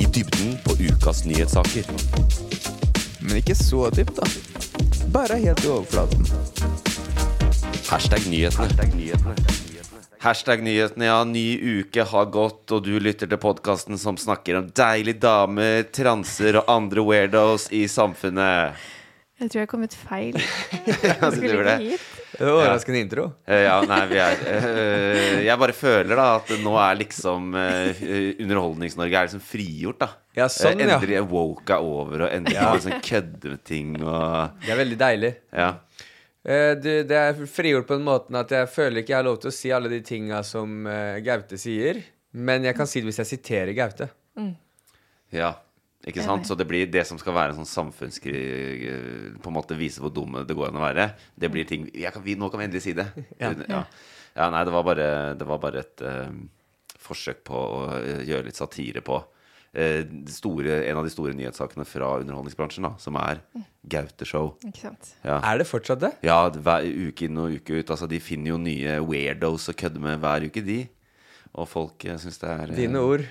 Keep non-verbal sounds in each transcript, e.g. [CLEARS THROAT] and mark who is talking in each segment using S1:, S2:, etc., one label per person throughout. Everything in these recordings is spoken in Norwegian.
S1: I dybden på ukas nyhetssaker.
S2: Men ikke så dypt, da. Bare helt i overflaten.
S1: Hashtag nyhetene. Hashtag nyhetene.
S3: Hashtag nyhetene, ja. Ny uke har gått, og du lytter til podkasten som snakker om deilige damer, transer og andre weirdos i samfunnet.
S2: [LAUGHS]
S4: Jeg tror jeg kom ut feil.
S3: Ja,
S4: Jeg
S3: du
S4: skulle
S3: gjorde
S4: ikke
S3: det.
S4: hit.
S2: Det var Overraskende intro.
S3: Eh, Ja, nei, vi er eh, Jeg bare føler da at nå er liksom eh, Underholdnings-Norge er liksom frigjort, da.
S2: Ja, sånn,
S3: Eh,
S2: ja.
S3: Endelig woke er over, og endelig
S2: Ja.
S3: liksom kødde med ting og
S2: Det er veldig deilig.
S3: Ja.
S2: Eh, du, det er frigjort på den måten at jeg føler ikke jeg har lov til å si alle de tinga som eh, Gaute sier. Men jeg kan si det hvis jeg siterer Gaute.
S3: ja. Ikke sant? Så det blir det som skal være en sånn samfunnskrig eh, På en måte vise hvor dumme det går an å være. Det blir ting jeg kan, vi, Nå kan vi endelig si det. Ja, ja. nei, det var bare, det var bare et eh, forsøk på å eh, gjøre litt satire på eh, store, en av de store nyhetssakene fra underholdningsbransjen, da, som er Gaute-show.
S4: Ikke sant. [LAUGHS]
S2: Er det fortsatt det?
S3: Ja, hver uke inn og uke ut. Altså, de finner jo nye weirdos å kødde med hver uke, de. Og folk uh, syns det er eh,
S2: Dine ord.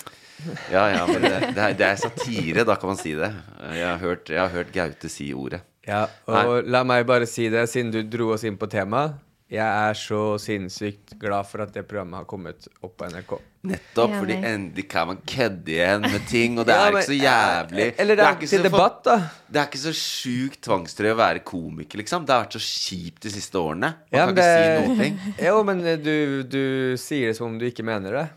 S3: Ja, ja, men det, det, er, det er satire, da kan man si det. Eh, Jeg har hørt, jeg har hørt Gaute si ordet.
S2: Ja, og la meg bare si det, siden du dro oss inn på temaet. Jeg er så sinnssykt glad for at det programmet har kommet opp på NRK.
S3: Nettopp, fordi
S4: Enig.
S3: endelig kan man kødde igjen med ting, og det
S2: Ja,
S3: er
S2: men- eh,
S3: ikke så jævlig
S2: Eller det er
S3: ikke
S2: til
S3: så for-
S2: debatt, da.
S3: Det er ikke så sjukt tvangstrøye å være komiker, liksom. Det har vært så kjipt de siste årene. Man
S2: Ja,
S3: kan
S2: men
S3: ikke si
S2: det-
S3: noen ting.
S2: [LAUGHS] Jo, men eh, du, du sier det som om du ikke mener det.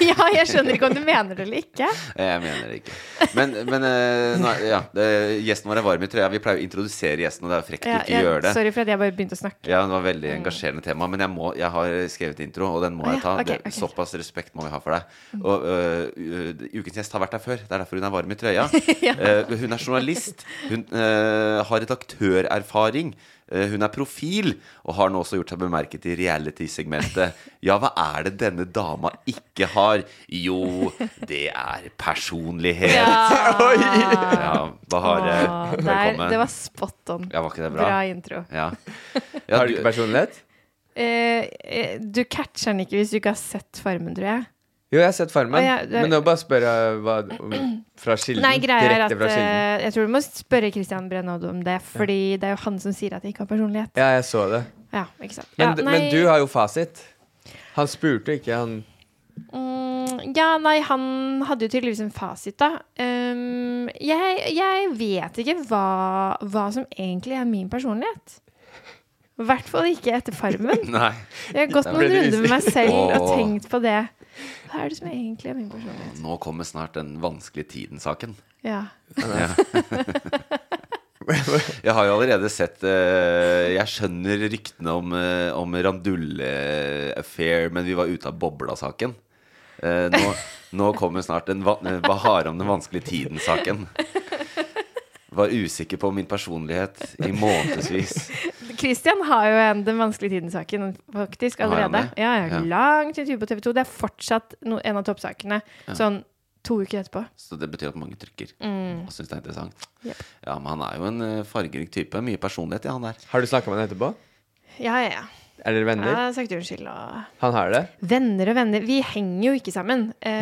S4: Ja, jeg skjønner ikke om du mener det eller ikke.
S3: Eh, Jeg mener det ikke. Men, men eh, nå, er- ja, det, gjesten vår er varm i trøya. Vi pleier å introdusere gjesten, og det er jo frekt å
S4: Ja,
S3: ikke
S4: jeg,
S3: gjøre det.
S4: sorry for at jeg bare begynte å snakke.
S3: Ja, det var veldig engasjerende tema, men jeg, må, jeg har skrevet intro, og den må
S4: Mm. Å,
S3: jeg
S4: ja.
S3: ta.
S4: Ok,
S3: Det-
S4: ok. Mm.
S3: Såpass respekt må vi ha for deg. Og øh, øh, Ukens gjest har vært her før, det er derfor hun er varm i trøya.
S4: [LAUGHS]
S3: Eh, hun er journalist, hun øh, har redaktørerfaring, eh, hun er profil, og har nå også gjort seg bemerket i reality-segmentet. Ja, hva er det denne dama ikke har? Jo, det er personlighet. Ja, Bahareh,
S4: Åh, der,
S3: velkommen.
S4: det var spot on.
S3: Ja, var ikke det bra?
S4: bra. intro.
S3: Ja. Ja,
S2: Har du ikke personlighet?
S4: Eh, eh, du catcher den ikke hvis du ikke har sett Farmen, tror jeg.
S2: Jo, jeg har sett Farmen.
S4: Å, ja, det-
S2: Men nå bare spør jeg hva, om- fra kilden.
S4: Nei, greia er at
S2: direkte fra kilden.
S4: eh, Jeg tror du må spørre Christian Brennaud om det, fordi det er jo han som sier at jeg ikke har personlighet.
S2: Ja, jeg så det.
S4: Ja, ikke sant.
S2: Men,
S4: ja,
S2: d-
S4: nei.
S2: men du har jo fasit. Han spurte ikke, han
S4: Mm, Ja, nei, han hadde jo tydeligvis en fasit, da. Ehm, jeg, jeg vet ikke hva, hva som egentlig er min personlighet. I hvert fall ikke etter Farmen.
S3: Nei. [LAUGHS]
S4: Jeg har gått
S3: Da
S4: noen
S3: ble du
S4: runder med meg selv og
S3: Åh.
S4: tenkt på det. Hva er det som egentlig er min personlighet?
S3: Nå kommer snart den vanskelige tiden-saken.
S4: Ja.
S3: Jeg har jo allerede sett eh, Jeg skjønner ryktene om, eh, om Randulle-affair, men vi var ute av bobla-saken. Eh, nå, nå kommer snart den va- eh, Bahar om den vanskelige tiden-saken. Var usikker på min personlighet i månedsvis.
S4: Christian har jo en Den vanskelige tiden-saken faktisk
S3: Har han
S4: allerede.
S3: det?
S4: Ja, ja,
S3: Ja.
S4: Langt intervju på TV 2. Det er fortsatt no, en av toppsakene. Sånn to uker etterpå.
S3: Så det betyr at mange trykker og syns det er interessant.
S4: Yep.
S3: Ja, Men han er jo en eh, fargerik type. Mye personlighet i han der.
S2: Har du snakka med han etterpå?
S4: Ja, ja, ja.
S2: Er dere
S4: Jeg
S2: venner?
S4: har sagt unnskyld og
S2: Han har det?
S4: Venner og venner Vi henger jo ikke sammen. Eh,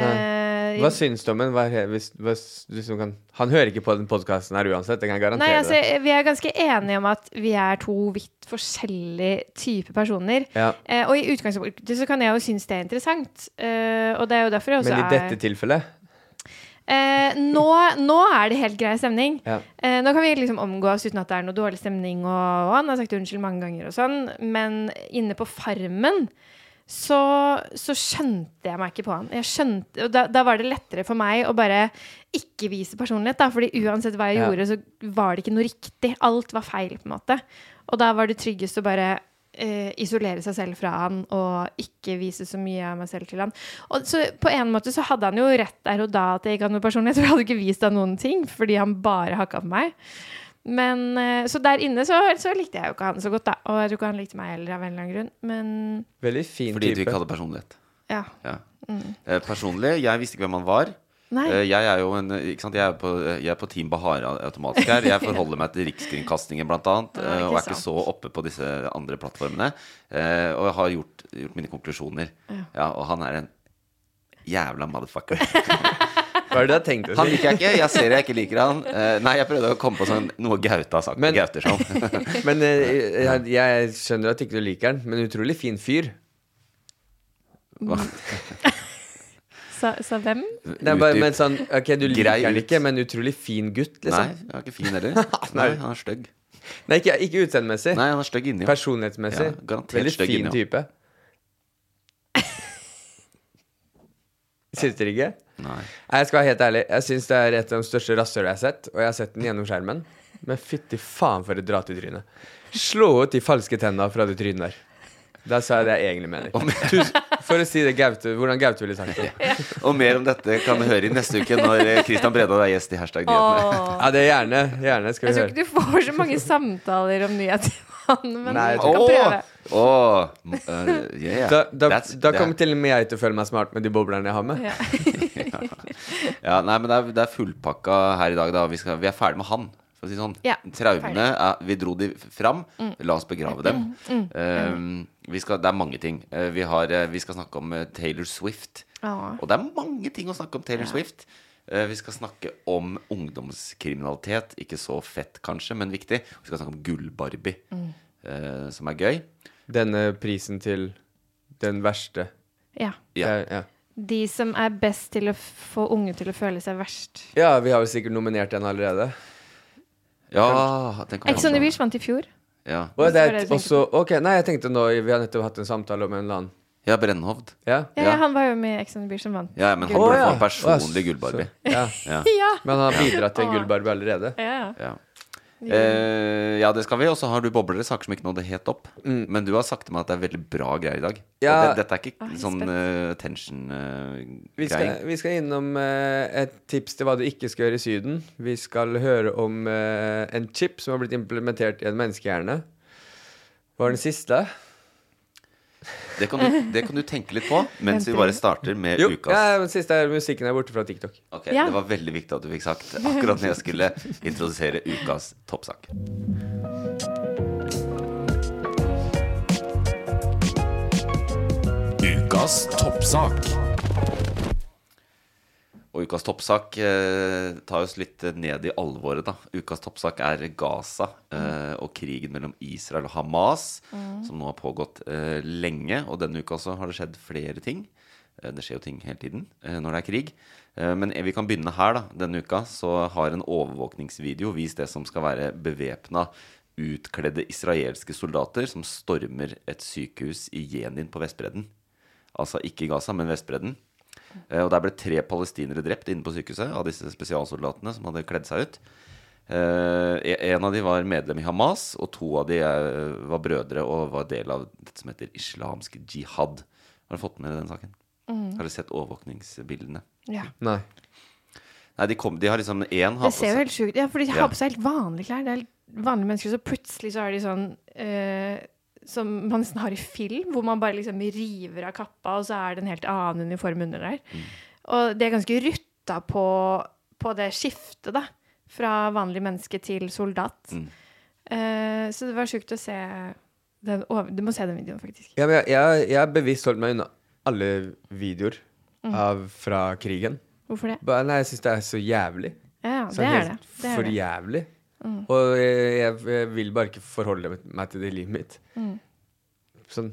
S4: eh,
S2: Hva syns du om den? Hva er, hvis, hva, s- liksom kan, han hører ikke på den podkasten her uansett, det kan jeg
S4: Nei,
S2: garantere.
S4: altså, vi er ganske enige om at vi er to vidt forskjellige typer personer.
S2: Ja.
S4: Eh, og i utgangspunktet så kan jeg jo synes det er interessant. Eh, og det er jo derfor jeg også
S2: Men i
S4: er
S2: dette tilfellet
S4: Eh, nå, nå er det helt grei stemning.
S2: Ja.
S4: Eh, nå kan vi liksom omgås uten at det er noe dårlig stemning. Og, og han har sagt unnskyld mange ganger og sånn. Men inne på Farmen så, så skjønte jeg meg ikke på han. Jeg skjønte, og da, da var det lettere for meg å bare ikke vise personlighet. Da, fordi uansett hva jeg
S2: Ja.
S4: gjorde, så var det ikke noe riktig. Alt var feil, på en måte. Og da var det tryggest å bare eh, isolere seg selv fra han og ikke vise så mye av meg selv til han. Og så på en måte så hadde han jo rett der og da at jeg ikke hadde noe personlighet, [LAUGHS] for jeg hadde ikke vist han noen ting, fordi han bare hakka på meg. Men, eh, så der inne så, så likte jeg jo ikke han så godt, da. Og jeg tror ikke han likte meg heller, av en eller annen grunn. Men
S2: Veldig fin
S3: Fordi du
S2: type.
S3: ikke hadde personlighet.
S4: ja.
S3: Ja. Eh, personlig, jeg visste ikke hvem han var.
S4: Mm. Nei.
S3: Eh, Jeg er jo en, ikke sant? Jeg er på, jeg er på Team Bahara automatisk her. Jeg forholder meg til Rikskringkastingen blant annet,
S4: Ja,
S3: eh,
S4: ikke
S3: og er ikke så
S4: sant.
S3: oppe på disse andre plattformene. Eh, Og jeg har gjort, gjort mine konklusjoner. Ja, og han er en jævla motherfucker.
S2: Hva er det du har tenkt å
S3: Han
S2: si?
S3: liker jeg ikke. Jeg ser jeg ikke liker han. Eh, Nei, jeg prøvde å komme på sånn, noe Gaute har sagt.
S2: Men-
S3: Gaute
S2: [LAUGHS]
S3: sånn.
S2: Men eh, jeg, jeg skjønner at ikke du liker den, men utrolig fin fyr.
S4: Sa, sa hvem?
S2: Nei, bare,
S3: Utdyp.
S2: men sånn, ok, du liker
S3: Grei
S2: den
S3: ut.
S2: ikke, men utrolig fin gutt,
S3: Nei,
S2: liksom. [LAUGHS] Nei,
S3: han er ikke fin heller. Nei, han er stygg.
S2: ikke, ikke utseendemessig.
S3: Nei, han er stygg inni.
S2: Personlighetsmessig.
S3: Ja, garantert
S2: Veldig
S3: stygg
S2: fin
S3: inni, ja.
S2: type. Syns dere ikke?
S3: Nei.
S2: Nei, jeg skal være helt ærlig. Jeg syns det er et av de største rasshøla jeg har sett, og jeg har sett den gjennom skjermen. Men fytti faen for et dratetryne. Slå ut de falske tenna fra det trynet der. Da sa jeg det jeg egentlig mener. Tusen- For å si det Gaute, hvordan Gaute ville sagt det.
S3: Og mer om dette kan du høre i neste uke når eh, Christian Bredal er gjest i Hashtag nyhetene.
S4: Åh.
S2: [LAUGHS] Ja, det er gjerne. Gjerne
S4: Jeg
S2: skal vi
S4: tror
S2: høre.
S4: ikke du får så mange samtaler om nyheter med han, men
S2: Nei, jeg
S4: du
S2: tror
S4: kan
S3: ikke-
S4: prøve.
S3: Åh, m- eh, yeah.
S2: Da, da,
S3: That's- det
S2: da
S3: er-
S2: kommer til og med jeg til å føle meg smart med de boblerne jeg har med.
S4: Ja.
S3: ja, Nei, men det er, det er fullpakka her i dag, da. Vi, skal, vi er ferdig med han. For å si det sånn.
S4: Ja,
S3: Traumene er, Vi dro de f- fram. La oss begrave dem. Eh, vi skal, det er mange ting. Eh, vi, har, eh, vi skal snakke om eh, Taylor Swift.
S4: Åh.
S3: Og det er mange ting å snakke om Taylor Swift. Eh, Vi skal snakke om ungdomskriminalitet. Ikke så fett, kanskje, men viktig. Vi skal snakke om Gull-Barbie, eh, som er gøy.
S2: Denne prisen til den verste.
S4: Ja.
S3: Ja.
S2: Jeg- ja.
S4: De som er best til å f- få unge til å føle seg verst.
S2: ja, vi har vel sikkert nominert en allerede.
S3: Ja, tenk om
S4: Ex
S2: sånn.
S4: on the Beach vant i fjor.
S3: Ja,
S2: Og det
S4: var
S2: er
S4: det jeg
S2: et- også, ok, nei, jeg tenkte nå, Vi har nettopp hatt en samtale om en eller annen.
S3: ja Brennhovd.
S2: Ja?
S4: Ja,
S3: Ja.
S4: Han var jo med i Ex on the Beach som vant.
S3: Ja, men han
S2: Å,
S3: burde få
S2: ja.
S3: en personlig
S2: Å, ja,
S3: Gull-Barbie.
S2: så- Ja.
S4: [LAUGHS] Ja.
S2: Men han har bidratt til en
S4: Å.
S2: gullbarbie allerede.
S4: Ja.
S3: Ja. Eh, ja, det skal vi. Og så har du boblere, saker som ikke nådde helt opp. Men du har sagt til meg at det er veldig bra greier i dag.
S2: Mm. Ja.
S3: Og det, dette er ikke
S4: Ah, jeg er
S3: sånn eh, uh,
S4: spent.
S3: tension-greier.
S2: Vi skal, vi skal innom eh, et tips til hva du ikke skal gjøre i Syden. Vi skal høre om eh, en chip som har blitt implementert i en menneskehjerne. Hva var den siste?
S3: det, kan du, det kan du tenke litt på mens vi bare starter med
S2: Jo,
S3: ukas
S2: ja, den siste er musikken er borte fra TikTok.
S3: Ok,
S4: Ja.
S3: Det var veldig viktig at du fikk sagt akkurat når jeg skulle introdusere ukas toppsak.
S1: Ukas toppsak.
S3: Og ukas toppsak eh, tar oss litt ned i alvoret, da. Ukas toppsak er Gaza eh, og krigen mellom Israel og Hamas, som nå har pågått eh, lenge. Og denne uka så har det skjedd flere ting. Eh, Det skjer jo ting hele tiden eh, når det er krig. Eh, Men vi kan begynne her. da Denne uka så har en overvåkningsvideo vist det som skal være bevæpna utkledde israelske soldater som stormer et sykehus i Jenin på Vestbredden. Altså ikke Gaza, men Vestbredden. Eh, Og der ble tre palestinere drept inne på sykehuset av disse spesialsoldatene som hadde kledd seg ut. Eh, en av de var medlem i Hamas, og to av de eh, var brødre og var del av dette som heter islamsk jihad. Har du fått med deg den saken?
S4: Mm.
S3: Har du sett overvåkningsbildene?
S4: Ja.
S2: Nei.
S3: Nei, de, kom, de har liksom én
S4: Det
S3: har på
S4: ser jo
S3: seg
S4: helt sjukt Ja, for de
S3: Ja.
S4: har på seg helt vanlige klær. Det er helt vanlige mennesker, så plutselig så er de sånn eh, som man nesten har i film, hvor man bare liksom river av kappa, og så er det en helt annen uniform under der. Og de er ganske rutta på, på det skiftet, da. Fra vanlig menneske til soldat. Eh, så det var sjukt å se den over... Du må se den videoen, faktisk.
S2: Ja,
S4: Mm.
S2: men jeg, jeg, jeg har bevisst holdt meg unna alle videoer av, fra krigen.
S4: Hvorfor det?
S2: Bare, nei, jeg syns det er så jævlig.
S4: Ja, ja,
S2: Så
S4: det er det. det,
S2: helt
S4: Mm. er
S2: For
S4: det.
S2: jævlig. Og jeg, jeg vil bare ikke forholde meg til det i livet mitt.
S4: Mm.
S2: Sånn.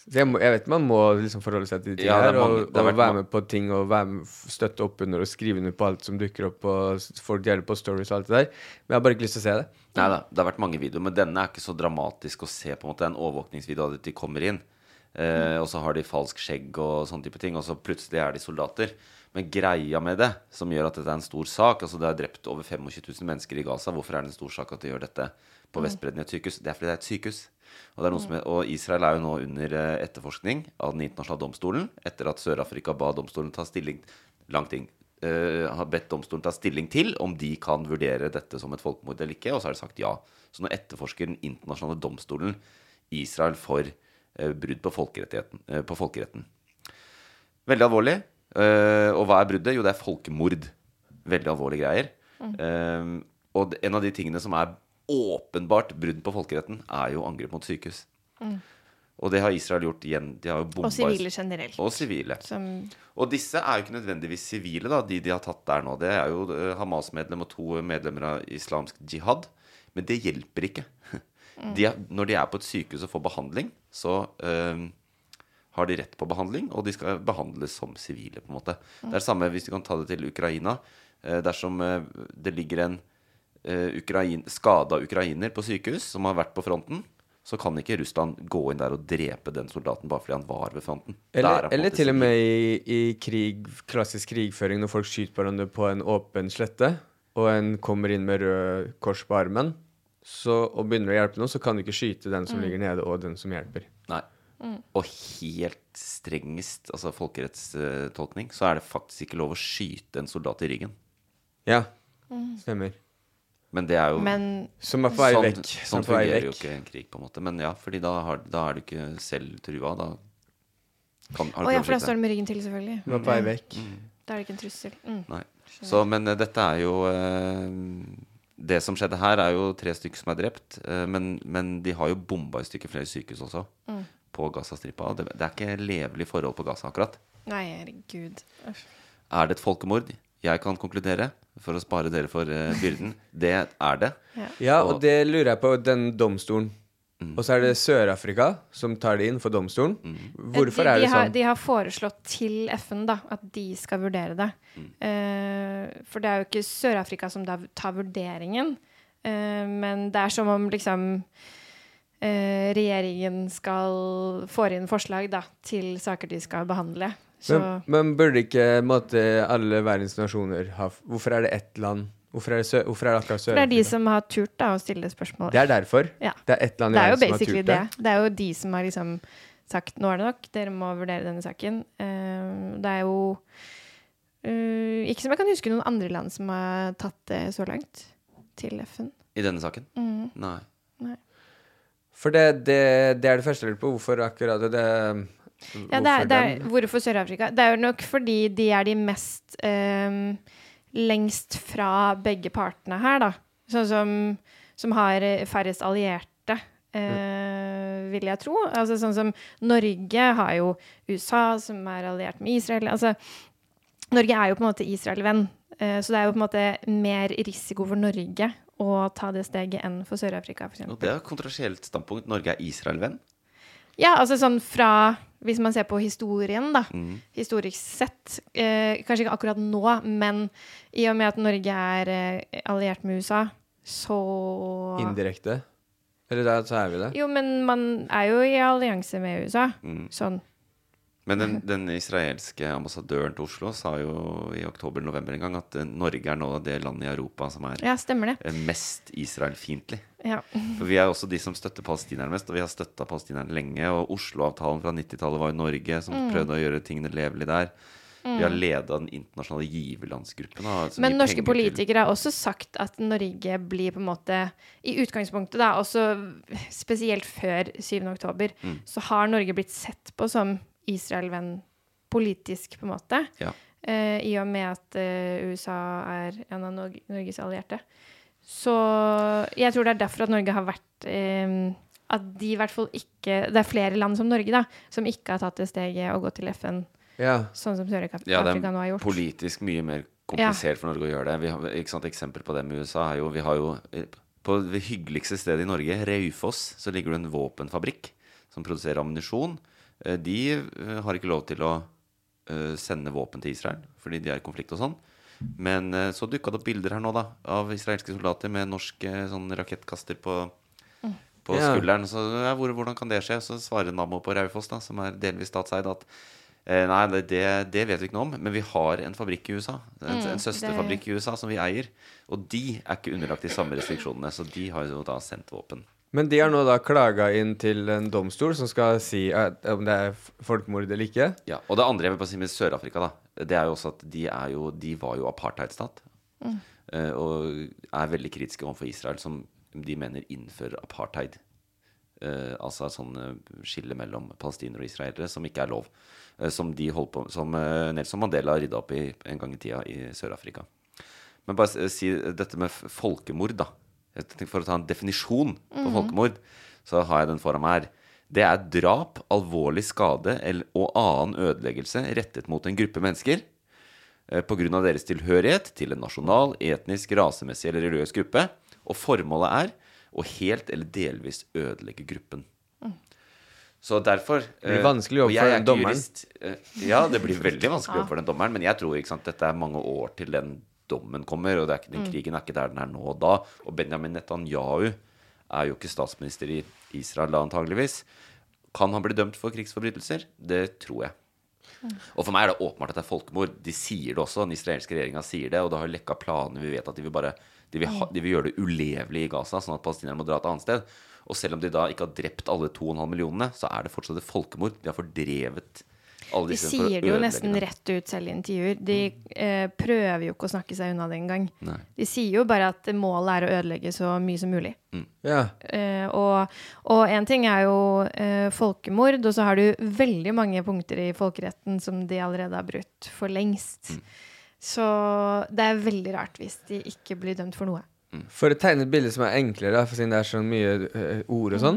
S2: Så jeg, må, jeg vet man må liksom forholde seg til de ting
S3: Ja, det er
S2: her, og,
S3: mange- det har
S2: og
S3: vært
S2: være
S3: ma-
S2: med på ting og være med, støtte opp under og skrive under på alt som dukker opp, og s- folk deler på stories og alt det der. Men jeg har bare ikke lyst til å se det.
S3: Nei da, det har vært mange videoer, men denne er ikke så dramatisk å se. på en måte Det er en overvåkningsvideo av at de kommer inn, eh, og så har de falsk skjegg og sånne type ting, og så plutselig er de soldater. Men greia med det, som gjør at dette er en stor sak Altså Det er drept over 25 000 mennesker i Gaza. Hvorfor er det en stor sak at de gjør dette på Vestbredden i et sykehus? Det er fordi det er et sykehus. Og, det er noe som er, og Israel er jo nå under eh, etterforskning av den internasjonale domstolen etter at Sør-Afrika ba domstolen ta stilling Lang ting eh, har bedt domstolen ta stilling til om de kan vurdere dette som et folkemord eller ikke, og så har de sagt ja. Så nå etterforsker den internasjonale domstolen Israel for eh, brudd på folkerettigheten. eh, på folkeretten. Veldig alvorlig. Eh, og hva er bruddet? Jo, det er folkemord. Veldig alvorlige greier.
S4: Mm.
S3: Eh, og det- en av de tingene som er åpenbart brudd på folkeretten, er jo angrep mot sykehus. Og det har Israel gjort igjen. De har jo bomba
S4: Mm. Og sivile generelt.
S3: Og sivile.
S4: Som
S3: Og disse er jo ikke nødvendigvis sivile, da, de de har tatt der nå. Det er jo eh, Hamas-medlem og to medlemmer av islamsk jihad. Men det hjelper ikke. [LAUGHS] De er, når de er på et sykehus og får behandling, så eh, har de rett på behandling, og de skal behandles som sivile, på en måte. Det er det samme hvis du kan ta det til Ukraina. Eh, dersom eh, det ligger en eh, ukrain, skada ukrainer på sykehus som har vært på fronten, så kan ikke Russland gå inn der og drepe den soldaten bare fordi han var ved fronten. Der er han
S2: Eller,
S3: på en måte
S2: eller til
S3: sivil.
S2: og med i, i krig, klassisk krigføring, når folk skyter på hverandre på en åpen slette, og en kommer inn med rød kors på armen så, og begynner å hjelpe noen, så kan du ikke skyte den som
S4: Mm.
S2: ligger nede, og den som hjelper.
S3: Nei. Og helt strengest, altså folkerettstolkning, så er det faktisk ikke lov å skyte en soldat i ryggen.
S2: Ja,
S4: Mm.
S2: stemmer.
S3: Men det er jo
S4: Men
S2: Som er på vei
S3: sånn,
S2: vekk.
S3: sånn
S2: som er på vei
S3: fungerer jo
S2: vekk.
S3: ikke en krig, på en måte. Men ja, fordi da, har, da er du ikke selv trua. Da kan, har
S4: Å
S3: du
S4: ja,
S3: ikke
S4: for da
S3: lov å
S4: står
S3: skyte.
S4: de med ryggen til, selvfølgelig. Mm.
S2: Som er på vei vekk.
S4: Da er det ikke en trussel. Mm.
S3: Nei. Så, men eh, dette er jo eh, Det som skjedde her, er jo tre stykker som er drept. eh, men, men de har jo bomba i stykker flere sykehus også,
S4: Mm.
S3: på Gazastripa. og Det, det er ikke levelig forhold på Gaza akkurat.
S4: Nei, herregud. Uff.
S3: Er det et folkemord? Jeg kan konkludere, for å spare dere for eh,
S4: [LAUGHS]
S3: byrden. Det er det.
S2: Ja, og det lurer jeg på, den domstolen.
S3: Mm.
S2: Og så er det Sør-Afrika som tar det inn for domstolen. Hvorfor
S4: Eh, de, de
S2: er det
S4: har,
S2: sånn?
S4: De har foreslått til FN da, at de skal vurdere det.
S3: Mm.
S4: Eh, for det er jo ikke Sør-Afrika som da tar vurderingen. Eh, men det er som om liksom eh, regjeringen skal får inn forslag da, til saker de skal behandle. Så
S2: Men, men burde ikke på en måte, alle verdens nasjoner ha Hvorfor er det ett land? Hvorfor er det, Sø hvorfor er det akkurat
S4: for det er de
S2: Sør-Afrika?
S4: som har turt da, å stille spørsmål.
S2: Det er derfor.
S4: Ja.
S2: Det er ett land i
S4: Det er jo
S2: verden som har
S4: basically
S2: turt
S4: det. Det er jo de som har liksom sagt nå er det nok, dere må vurdere denne saken. Eh, det er jo eh, ikke som jeg kan huske noen andre land som har tatt det så langt til FN.
S3: I denne saken?
S4: Mm.
S3: Nei.
S2: For det, det, det er det første jeg lurer på. Hvorfor akkurat det?
S4: Ja, det er, det er, hvorfor Sør-Afrika? Det er jo nok fordi de er de mest eh, lengst fra begge partene her, da. Sånn som, som har eh, færrest allierte, eh, vil jeg tro. Altså sånn som Norge har jo USA, som er alliert med Israel. Altså, Norge er jo på en måte Israel-venn, eh, så det er jo på en måte mer risiko for Norge å ta det steget enn for Sør-Afrika, for
S3: Og
S4: eksempel.
S3: det er et kontrasielt standpunkt. Norge er Israel-venn.
S4: Ja, altså sånn fra Hvis man ser på historien, da.
S3: Mm.
S4: Historisk sett. Eh, kanskje ikke akkurat nå, men i og med at Norge er eh, alliert med USA, så
S2: Indirekte. Eller da så er vi det.
S4: Jo, men man er jo i allianse med USA.
S3: Mm.
S4: Sånn.
S3: Men den, den israelske ambassadøren til Oslo sa jo i oktober-november en gang at eh, Norge er nå det landet i Europa som er
S4: Ja, stemmer det.
S3: eh, mest Israel-fientlig.
S4: Ja.
S3: For vi er jo også de som støtter palestinerne mest, og vi har støtta palestinerne lenge. Og Oslo-avtalen fra 90-tallet var jo Norge som
S4: Mm.
S3: prøvde å gjøre tingene levelig der. Vi har leda den internasjonale giverlandsgruppen. da, som
S4: Men
S3: gir
S4: norske
S3: penger til-
S4: politikere har også sagt at Norge blir på en måte I utgangspunktet, da, også spesielt før 7. oktober,
S3: Mm.
S4: så har Norge blitt sett på som Israel-venn politisk, på en måte.
S3: Ja.
S4: eh, I og med at eh, USA er en av Nor Norges allierte. Så jeg tror det er derfor at Norge har vært eh, At de i hvert fall ikke Det er flere land som Norge, da, som ikke har tatt det steget å gå til FN.
S2: Ja.
S4: Sånn som Sør-Afrika
S3: Ja, det
S4: Afrika nå har
S3: er
S4: gjort.
S3: politisk mye mer komplisert for Norge å gjøre det. Vi har, ikke sant, eksempel på det med USA er jo Vi har jo eh, på det hyggeligste stedet i Norge, Raufoss, så ligger det en våpenfabrikk som produserer ammunisjon. Eh, De eh, har ikke lov til å eh, sende våpen til Israel fordi de er i konflikt og sånn. Men eh, så dukka det opp bilder her nå, da, av israelske soldater med norsk eh, sånn rakettkaster på på
S2: Ja.
S3: skulderen. Så ja, hvor, hvordan kan det skje? Og så svarer Nammo på Raufoss, da, som er delvis statseid, at eh, nei, det, det, det vet vi ikke noe om, men vi har en fabrikk i USA. En, en søsterfabrikk i USA som vi eier. Og de er ikke underlagt de samme restriksjonene, så de har jo da sendt våpen.
S2: Men de har nå da klaga inn til en domstol som skal si eh, om det er f- folkemord eller ikke.
S3: Ja, Og det andre jeg vil bare si med Sør-Afrika, da, det er jo også at de, er jo, de var jo apartheidstat. eh, Og er veldig kritiske overfor Israel, som de mener innfører apartheid. Eh, altså et sånn eh, skille mellom palestinere og israelere som ikke er lov. Eh, som de holdt på, som eh, Nelson Mandela rydda opp i en gang i tida i Sør-Afrika. Men bare s- eh, si dette med f- folkemord, da. Jeg tenkte For å ta en definisjon på folkemord, så har jeg den foran meg her. Det er drap, alvorlig skade eller, og annen ødeleggelse rettet mot en gruppe mennesker pga. deres tilhørighet til en nasjonal, etnisk, rasemessig eller religiøs gruppe. Og formålet er å helt eller delvis ødelegge gruppen. Så derfor
S2: Det blir
S3: eh,
S2: vanskelig jobb
S3: og jeg
S2: for
S3: er
S2: den
S3: ikke
S2: dommeren.
S3: jurist, eh, Ja, det
S2: [LAUGHS]
S3: blir veldig vanskelig jobb for den dommeren. Men jeg tror ikke sant, dette er mange år til den dommen kommer, og det er ikke, den krigen er ikke der den er nå og da. Og Benjamin Netanyahu er jo ikke statsminister i Israel da, antageligvis. Kan han bli dømt for krigsforbrytelser? Det tror jeg. Og for meg er det åpenbart at det er folkemord. De sier det også. Den israelske regjeringa sier det, og det har jo lekka planer. Vi vet at de vil bare de vil, ha,
S4: Mm.
S3: de vil gjøre det ulevelig i Gaza, sånn at palestinerne må dra et annet sted. Og selv om de da ikke har drept alle 2,5 millionene, så er det fortsatt et folkemord. De har fordrevet alle
S4: De
S3: disse for å
S4: sier det jo
S3: ødelegge
S4: nesten
S3: dem.
S4: rett ut selv i intervjuer. De eh, prøver jo ikke å snakke seg unna det engang.
S3: Nei.
S4: De sier jo bare at målet er å ødelegge så mye som mulig.
S2: Ja.
S4: Eh, og, og en ting er jo eh, folkemord, og så har du veldig mange punkter i folkeretten som de allerede har brutt for lengst. Så det er veldig rart hvis de ikke blir dømt for noe.
S2: For å tegne et bilde som er enklere, for siden det er så mye eh, ord og sånn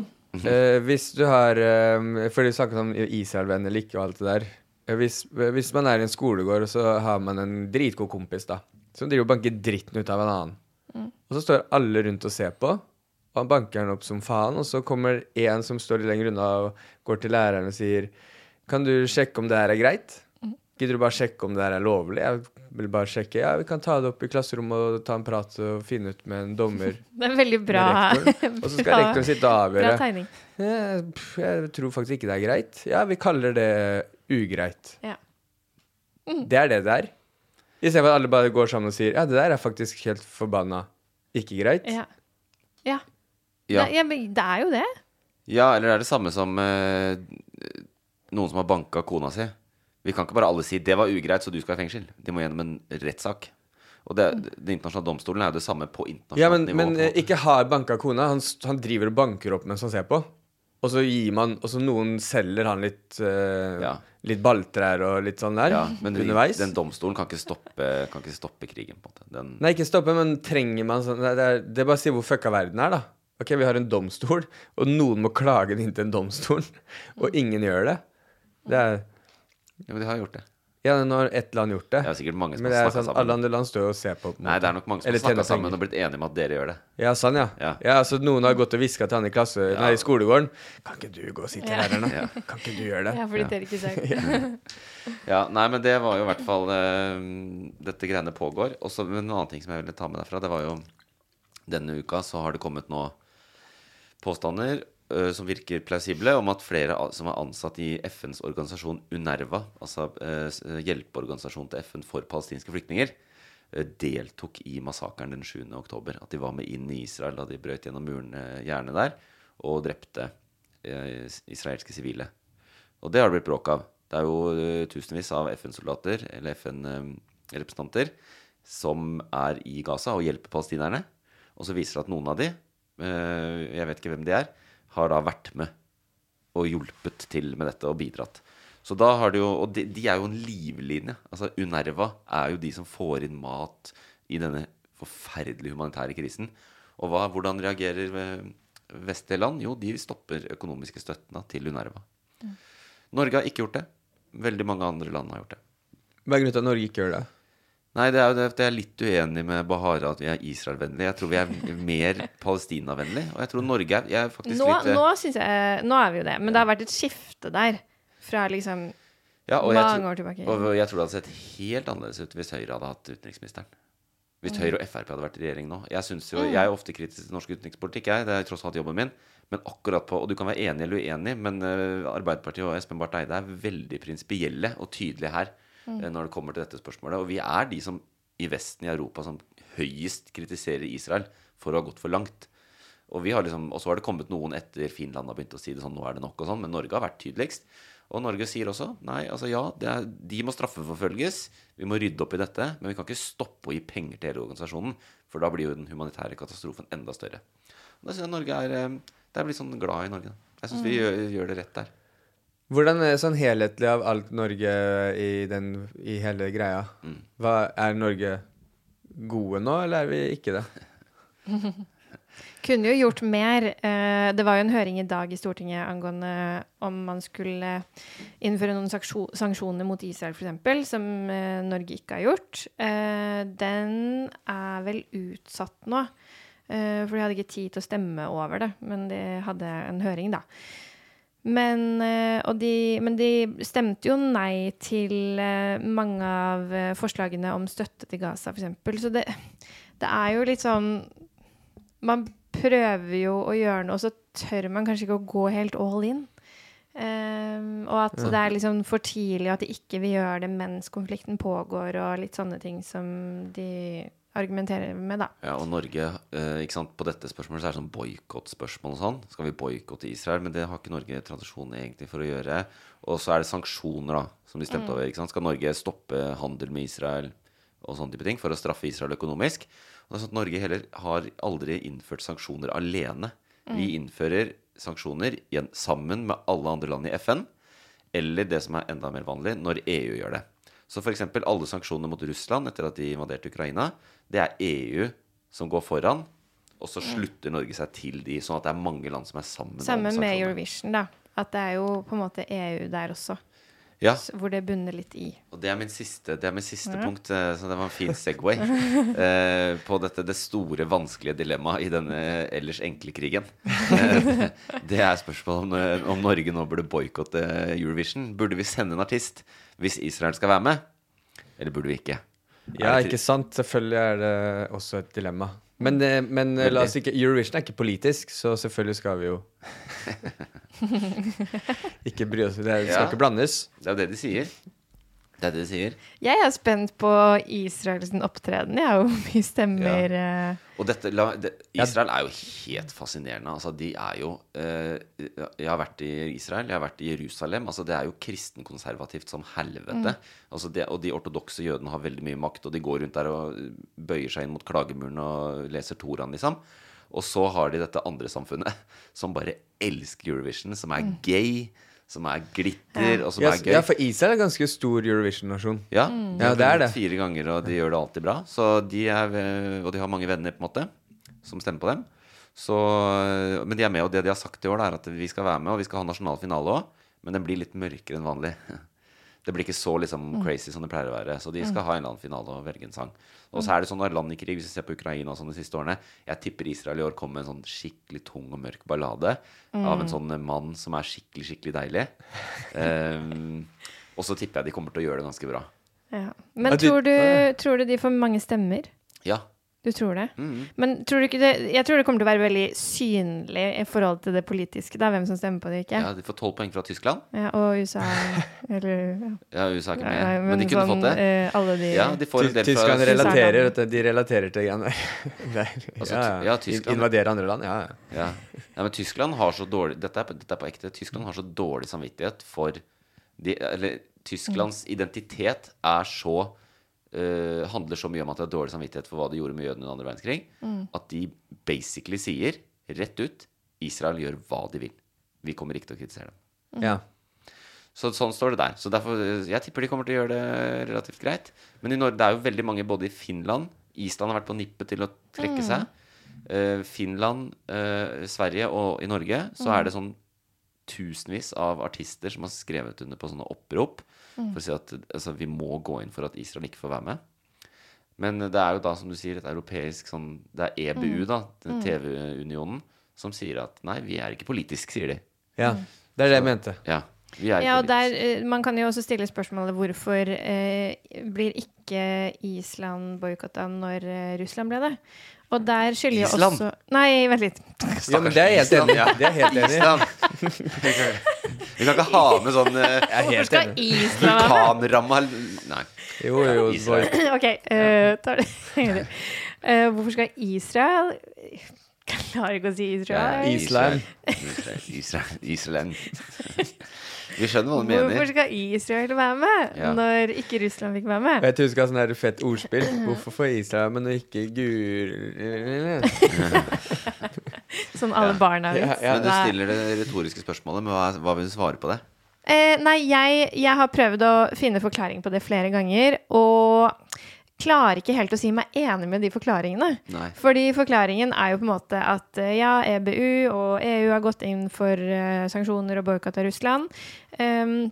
S2: eh, Hvis du har eh, For du snakket om Israel-venn eller ikke og alt det der. Eh, Hvis, eh, hvis man er i en skolegård, og så har man en dritgod kompis da som driver og banker dritten ut av en annen. Og så står alle rundt og ser på, og han banker han opp som faen. Og så kommer en som står litt lenger unna, og går til læreren og sier Kan du sjekke om det her er greit?
S4: Mhm.
S2: Gidder du bare sjekke om det her er lovlig? Jeg vil bare sjekke. Ja, vi kan ta det opp i klasserommet og ta en prat og finne ut med en dommer.
S4: Det er veldig [LAUGHS] bra.
S2: med
S4: [LAUGHS]
S2: rektoren. Og så skal
S4: bra-
S2: rektoren sitte og
S4: Bra
S2: avgjøre.
S4: tegning.
S2: «Eh, pff, Jeg tror faktisk ikke det er greit. Ja, vi kaller det ugreit.
S4: Ja. Mm.
S2: Det er det det er. Istedenfor at alle bare går sammen og sier ja, det der er faktisk helt forbanna ikke greit.
S4: Ja. ja.
S3: Ja.
S4: Nei, ja, men det er jo det.
S3: ja, eller det er det samme som eh, noen som har banka kona si. Vi kan ikke bare alle si 'det var ugreit, så du skal i fengsel'. De må gjennom en rettssak. Og det,
S4: Mm.
S3: den internasjonale domstolen er jo det samme på internasjonalt
S2: Ja, men,
S3: nivå. på
S2: men
S3: en
S2: eh,
S3: måte.
S2: ikke har banka kona. Han, s- han driver og banker opp mens han ser på. Og så gir man Og så noen selger han litt eh,
S3: Ja.
S2: Litt balltrær og litt sånn der
S3: Ja, men de,
S2: underveis.
S3: den domstolen kan ikke stoppe, kan ikke stoppe krigen, på en måte. Den,
S2: Nei, ikke stoppe, men trenger man sånn Det er, det er bare å si hvor fucka verden er, da. Ok, vi har en domstol, og noen må klage den inn til en domstol, [LAUGHS] og ingen gjør det. Det er
S3: ja, men de har gjort det.
S2: Ja, nå har ett land gjort det.
S3: Det er sikkert mange som
S2: men det
S3: har
S2: er
S3: snakka
S2: sånn, alle
S3: sammen.
S2: andre land står jo og ser på. på en
S3: Nei,
S2: måte.
S3: det er nok mange som
S2: Eller
S3: har
S2: tjener
S3: snakka sammen
S2: penger.
S3: og blitt enige om at dere gjør det.
S2: Ja, sånn, ja. ja.
S3: Ja.
S2: så Noen har gått og hviska til han i klasse Nei, i skolegården. Kan ikke du gå og sitte her, nå? Kan ikke du gjøre det?
S4: Ja, fordi dere ikke ser
S3: Ja, nei, men det var jo i hvert fall eh, Dette greiene pågår. Og så men en annen ting som jeg ville ta med derfra, det var jo Denne uka så har det kommet nå påstander eh, som virker plausible, om at flere a- som er ansatt i FNs organisasjon UNERVA, altså eh, s- hjelpeorganisasjonen til FN for palestinske flyktninger, eh, deltok i massakren den 7. oktober. At de var med inn i Israel da de brøt gjennom murene gjerne der og drepte eh, s- israelske sivile. Og det har det blitt bråk av. Det er jo eh, tusenvis av FN-soldater eller FN-representanter som er i Gaza og hjelper palestinerne. Og så viser det at noen av de, eh, jeg vet ikke hvem de er, har da vært med og hjulpet til med dette og bidratt. Så da har det jo, Og de, de er jo en livlinje. Altså UNERVA er jo de som får inn mat i denne forferdelige humanitære krisen. Og hva, hvordan reagerer eh, vestlige land? Jo, de stopper økonomiske støttene til UNERVA. Norge har ikke gjort det. Veldig mange andre land har gjort det.
S2: Hva er grunnen til at Norge ikke gjør det?
S3: Nei, det er jo det at jeg er litt uenig med Bahara at vi er Israel-vennlige. Jeg tror vi er mer Palestina-vennlige. Og jeg tror Norge er, jeg er faktisk
S4: Nå,
S3: litt eh,
S4: nå, synes jeg, nå er vi jo det, men det har vært et skifte der. Fra liksom
S3: ja, og jeg
S4: mange
S3: tror-
S4: år tilbake.
S3: Og jeg tror det hadde sett helt annerledes ut hvis Høyre hadde hatt utenriksministeren. Hvis Høyre og Frp hadde vært i regjering nå. Jeg, synes jo, jeg er ofte kritisk til norsk utenrikspolitikk, jeg. Det er tross alt jobben min. Men akkurat på, og du kan være enig eller uenig, men eh, Arbeiderpartiet og Espen Barth Eide er veldig prinsipielle og tydelige her eh, når det kommer til dette spørsmålet. Og vi er de som i Vesten i Europa som høyest kritiserer Israel for å ha gått for langt. Og, vi har liksom, og så har det kommet noen etter Finland har begynt å si det sånn, nå er det nok og sånn, men Norge har vært tydeligst. Og Norge sier også nei, altså ja, det er, de må straffeforfølges, vi må rydde opp i dette, men vi kan ikke stoppe å gi penger til hele organisasjonen, for da blir jo den humanitære katastrofen enda større. Og da synes jeg Norge er eh, Det er blitt sånn glad i Norge. da. Jeg syns vi gjør, gjør det rett der.
S2: Hvordan er sånn helhetlig av alt Norge eh, i, den, i hele greia?
S3: Mm.
S2: Hva, er Norge gode nå, eller er vi ikke det?
S4: Kunne jo gjort mer. Eh, Det var jo en høring i dag i Stortinget angående eh, om man skulle eh, innføre noen saksjo- sanksjoner mot Israel, f.eks., som eh, Norge ikke har gjort. Eh, Den er vel utsatt nå. eh, For de hadde ikke tid til å stemme over det, men de hadde en høring, da. Men, eh, og de, men de stemte jo nei til eh, mange av eh, forslagene om støtte til Gaza, f.eks. Så det, det er jo litt sånn man prøver jo å gjøre noe, og så tør man kanskje ikke å gå helt all in. Ehm, og at det er liksom for tidlig, og at de ikke vil gjøre det mens konflikten pågår, og litt sånne ting som de argumenterer med, da.
S3: Ja, og Norge, eh, ikke sant, på dette spørsmålet så er det sånn boikottspørsmål og sånn. Skal vi boikotte Israel? Men det har ikke Norge tradisjon egentlig for å gjøre. Og så er det sanksjoner, da, som de stemte over. ikke sant? Skal Norge stoppe handel med Israel og sånne type ting for å straffe Israel økonomisk? Og det er sånn at Norge heller har aldri innført sanksjoner alene. Vi innfører sanksjoner igjen sammen med alle andre land i FN eller det som er enda mer vanlig, når EU gjør det. Så f.eks. alle sanksjoner mot Russland etter at de invaderte Ukraina, det er EU som går foran, og så slutter Norge seg til de, sånn at det er mange land som er sammen. om
S4: Samme med
S3: sanksjonene.
S4: Eurovision, da. At det er jo på en måte EU der også,
S3: Ja,
S4: s- hvor det bunner litt i.
S3: og det er min siste, det er min siste punkt, eh, så det var en fin Segway eh, på dette det store, vanskelige dilemmaet i denne ellers enkle krigen. Eh, det er spørsmålet om, eh, om Norge nå burde boikotte Eurovision. Burde vi sende en artist hvis Israel skal være med, eller burde vi ikke?
S2: Ja,
S3: Er det
S2: ikke
S3: til-
S2: sant? Selvfølgelig er det også et dilemma. Men, eh, men eh, la oss ikke, Eurovision er ikke politisk, så selvfølgelig skal vi jo Ikke bry oss, det er- skal
S3: Ja.
S2: ikke blandes.
S3: Det er jo det de sier. Det er det de sier.
S4: Jeg er spent på Israels opptreden, jeg, og hvor mye stemmer eh,
S3: Og dette, la, det, Israel er jo helt fascinerende. Altså, de er jo eh, Jeg har vært i Israel, jeg har vært i Jerusalem. Altså, det er jo kristenkonservativt som
S2: Mm.
S3: helvete. Altså, det, og de ortodokse jødene har veldig mye makt, og de går rundt der og bøyer seg inn mot klagemuren og leser Toraen, liksom. Og så har de dette andre samfunnet [LAUGHS] som bare elsker Eurovision, som er gay, som er glitter, og som
S2: Mm. Ja,
S3: er
S2: s-
S3: gøy.
S2: ja, for Israel er en ganske stor Eurovision-nasjon.
S3: Ja, de har
S2: Ja, det er
S3: vunnet
S2: det.
S3: Fire ganger, og de gjør det alltid bra. Så de er, eh, og de har mange venner på en måte som stemmer på dem. Så, eh, men de er med, og det de har sagt i år, da, er at vi skal være med, og vi skal ha nasjonal finale òg. Men den blir litt mørkere enn vanlig. [LAUGHS] Det blir ikke så liksom crazy som det pleier å være. Så de skal ha en eller annen finale og velge en sang. Og så er det sånn når land i krig, hvis vi ser på Ukraina og sånn de siste årene Jeg tipper Israel i år kommer med en sånn skikkelig tung og mørk ballade av en sånn mann som er skikkelig, skikkelig deilig. Ehm, og så tipper jeg de kommer til å gjøre det ganske bra.
S4: ja. Men
S2: Ja, de-
S4: tror du, tror du de får mange stemmer?
S3: Ja.
S4: Du tror det?
S3: Mm.
S4: Men tror du ikke det, jeg tror det kommer til å være veldig synlig i forhold til det politiske, da, hvem som stemmer på det ikke.
S3: ja, de får tolv poeng fra Tyskland.
S4: Ja, og
S3: [LAUGHS]
S4: USA eller
S3: Ja, USA er ikke med,
S4: nei,
S3: men, de kunne
S4: sånn,
S3: fått det.
S4: eh, alle de
S3: Ja, de får en del fra
S2: Tyskland
S4: Tyskland.
S2: relaterer, vet du, de relaterer til greiene
S3: [LAUGHS]
S2: der. Der.
S3: Altså,
S2: Ja,
S3: ty-
S2: ja.
S3: ja, Tyskland.
S2: Invadere andre land, ja. ja.
S3: ja. Nei, men Tyskland har så dårlig dette er, på- dette er på ekte. Tyskland har så dårlig samvittighet for de, Eller Tysklands
S4: Mm.
S3: identitet er så eh, handler så mye om at de har dårlig samvittighet for hva de gjorde med jødene under andre verdenskrig,
S4: Mm.
S3: at de basically sier rett ut Israel gjør hva de vil. Vi kommer ikke til å kritisere dem.
S2: ja.
S3: Så sånn står det der. Så derfor, jeg tipper de kommer til å gjøre det relativt greit. Men i Norge, det er jo veldig mange både i Finland Island har vært på nippet til å trekke seg. Eh, Finland, eh, Sverige og i Norge så er det sånn tusenvis av artister som har skrevet under på sånne opprop for å si at altså, vi må gå inn for at Israel ikke får være med. Men det er jo da, som du sier, et europeisk sånn Det er EBU,
S4: Mm.
S3: da, den TV-unionen, som sier at nei, vi er ikke politisk, sier de.
S2: Ja,
S4: Mm.
S2: det er det jeg mente.
S3: Ja, vi er ikke
S4: Ja, og der,
S3: politisk.
S4: eh, Man kan jo også stille spørsmålet hvorfor eh, blir ikke Island boikotta når eh, Russland ble det? Og der skylder jo
S3: Island?
S4: også Nei, vent litt.
S2: Ja, men det er jeg helt
S3: Island,
S2: enig
S3: ja.
S2: i. Det er jeg helt enig i.
S3: Island. Vi kan vi kan ikke ha med sånn eh,
S2: Jeg er
S4: Hvorfor
S2: helt
S4: skal
S2: enig.
S4: Island være med?
S3: vulkanramma Nei.
S2: Jo, jo, det
S4: [CLEARS THROAT]
S2: var-
S4: Ok, eh, tar det Eh, Hvorfor skal Israel Klarer ikke å si Israel.
S2: Ja, Island.
S3: Israel. Israel. Israel. Vi skjønner hva du
S4: Hvorfor
S3: mener.
S4: skal Israel være med
S3: Ja.
S4: når ikke Russland fikk være med?
S2: Og jeg tror du skal ha sånn her fett ordspill. Hvorfor får Israel, men ikke Gul...
S4: Sånn alle barna
S2: Ja,
S4: vet.
S2: ja.
S3: Men du
S4: Nei.
S3: stiller det retoriske spørsmålet, men hva, hva vil du svare på det?
S4: Eh, nei, jeg, jeg har prøvd å finne forklaring på det flere ganger, og klarer ikke helt å si meg enig med de forklaringene.
S3: Nei.
S4: Fordi forklaringen er jo på en måte at eh, ja, EBU og EU har gått inn for eh, sanksjoner og boikott av Russland. ehm,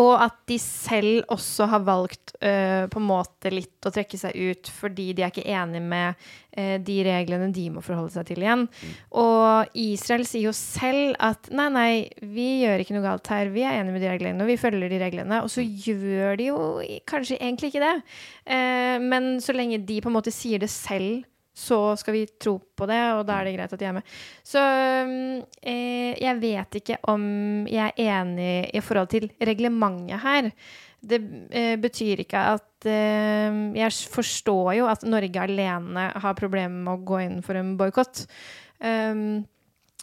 S4: og at de selv også har valgt eh, på en måte litt å trekke seg ut fordi de er ikke enig med eh, de reglene de må forholde seg til igjen. Og Israel sier jo selv at nei, nei, vi gjør ikke noe galt her. Vi er enige med de reglene, og vi følger de reglene. Og så gjør de jo i- kanskje egentlig ikke det. Eh, men så lenge de på en måte sier det selv, så skal vi tro på det, og da er det greit at de er med. Så mm, eh, jeg vet ikke om jeg er enig i forhold til reglementet her. Det eh, betyr ikke at eh, Jeg forstår jo at Norge alene har problemer med å gå inn for en boikott. Um,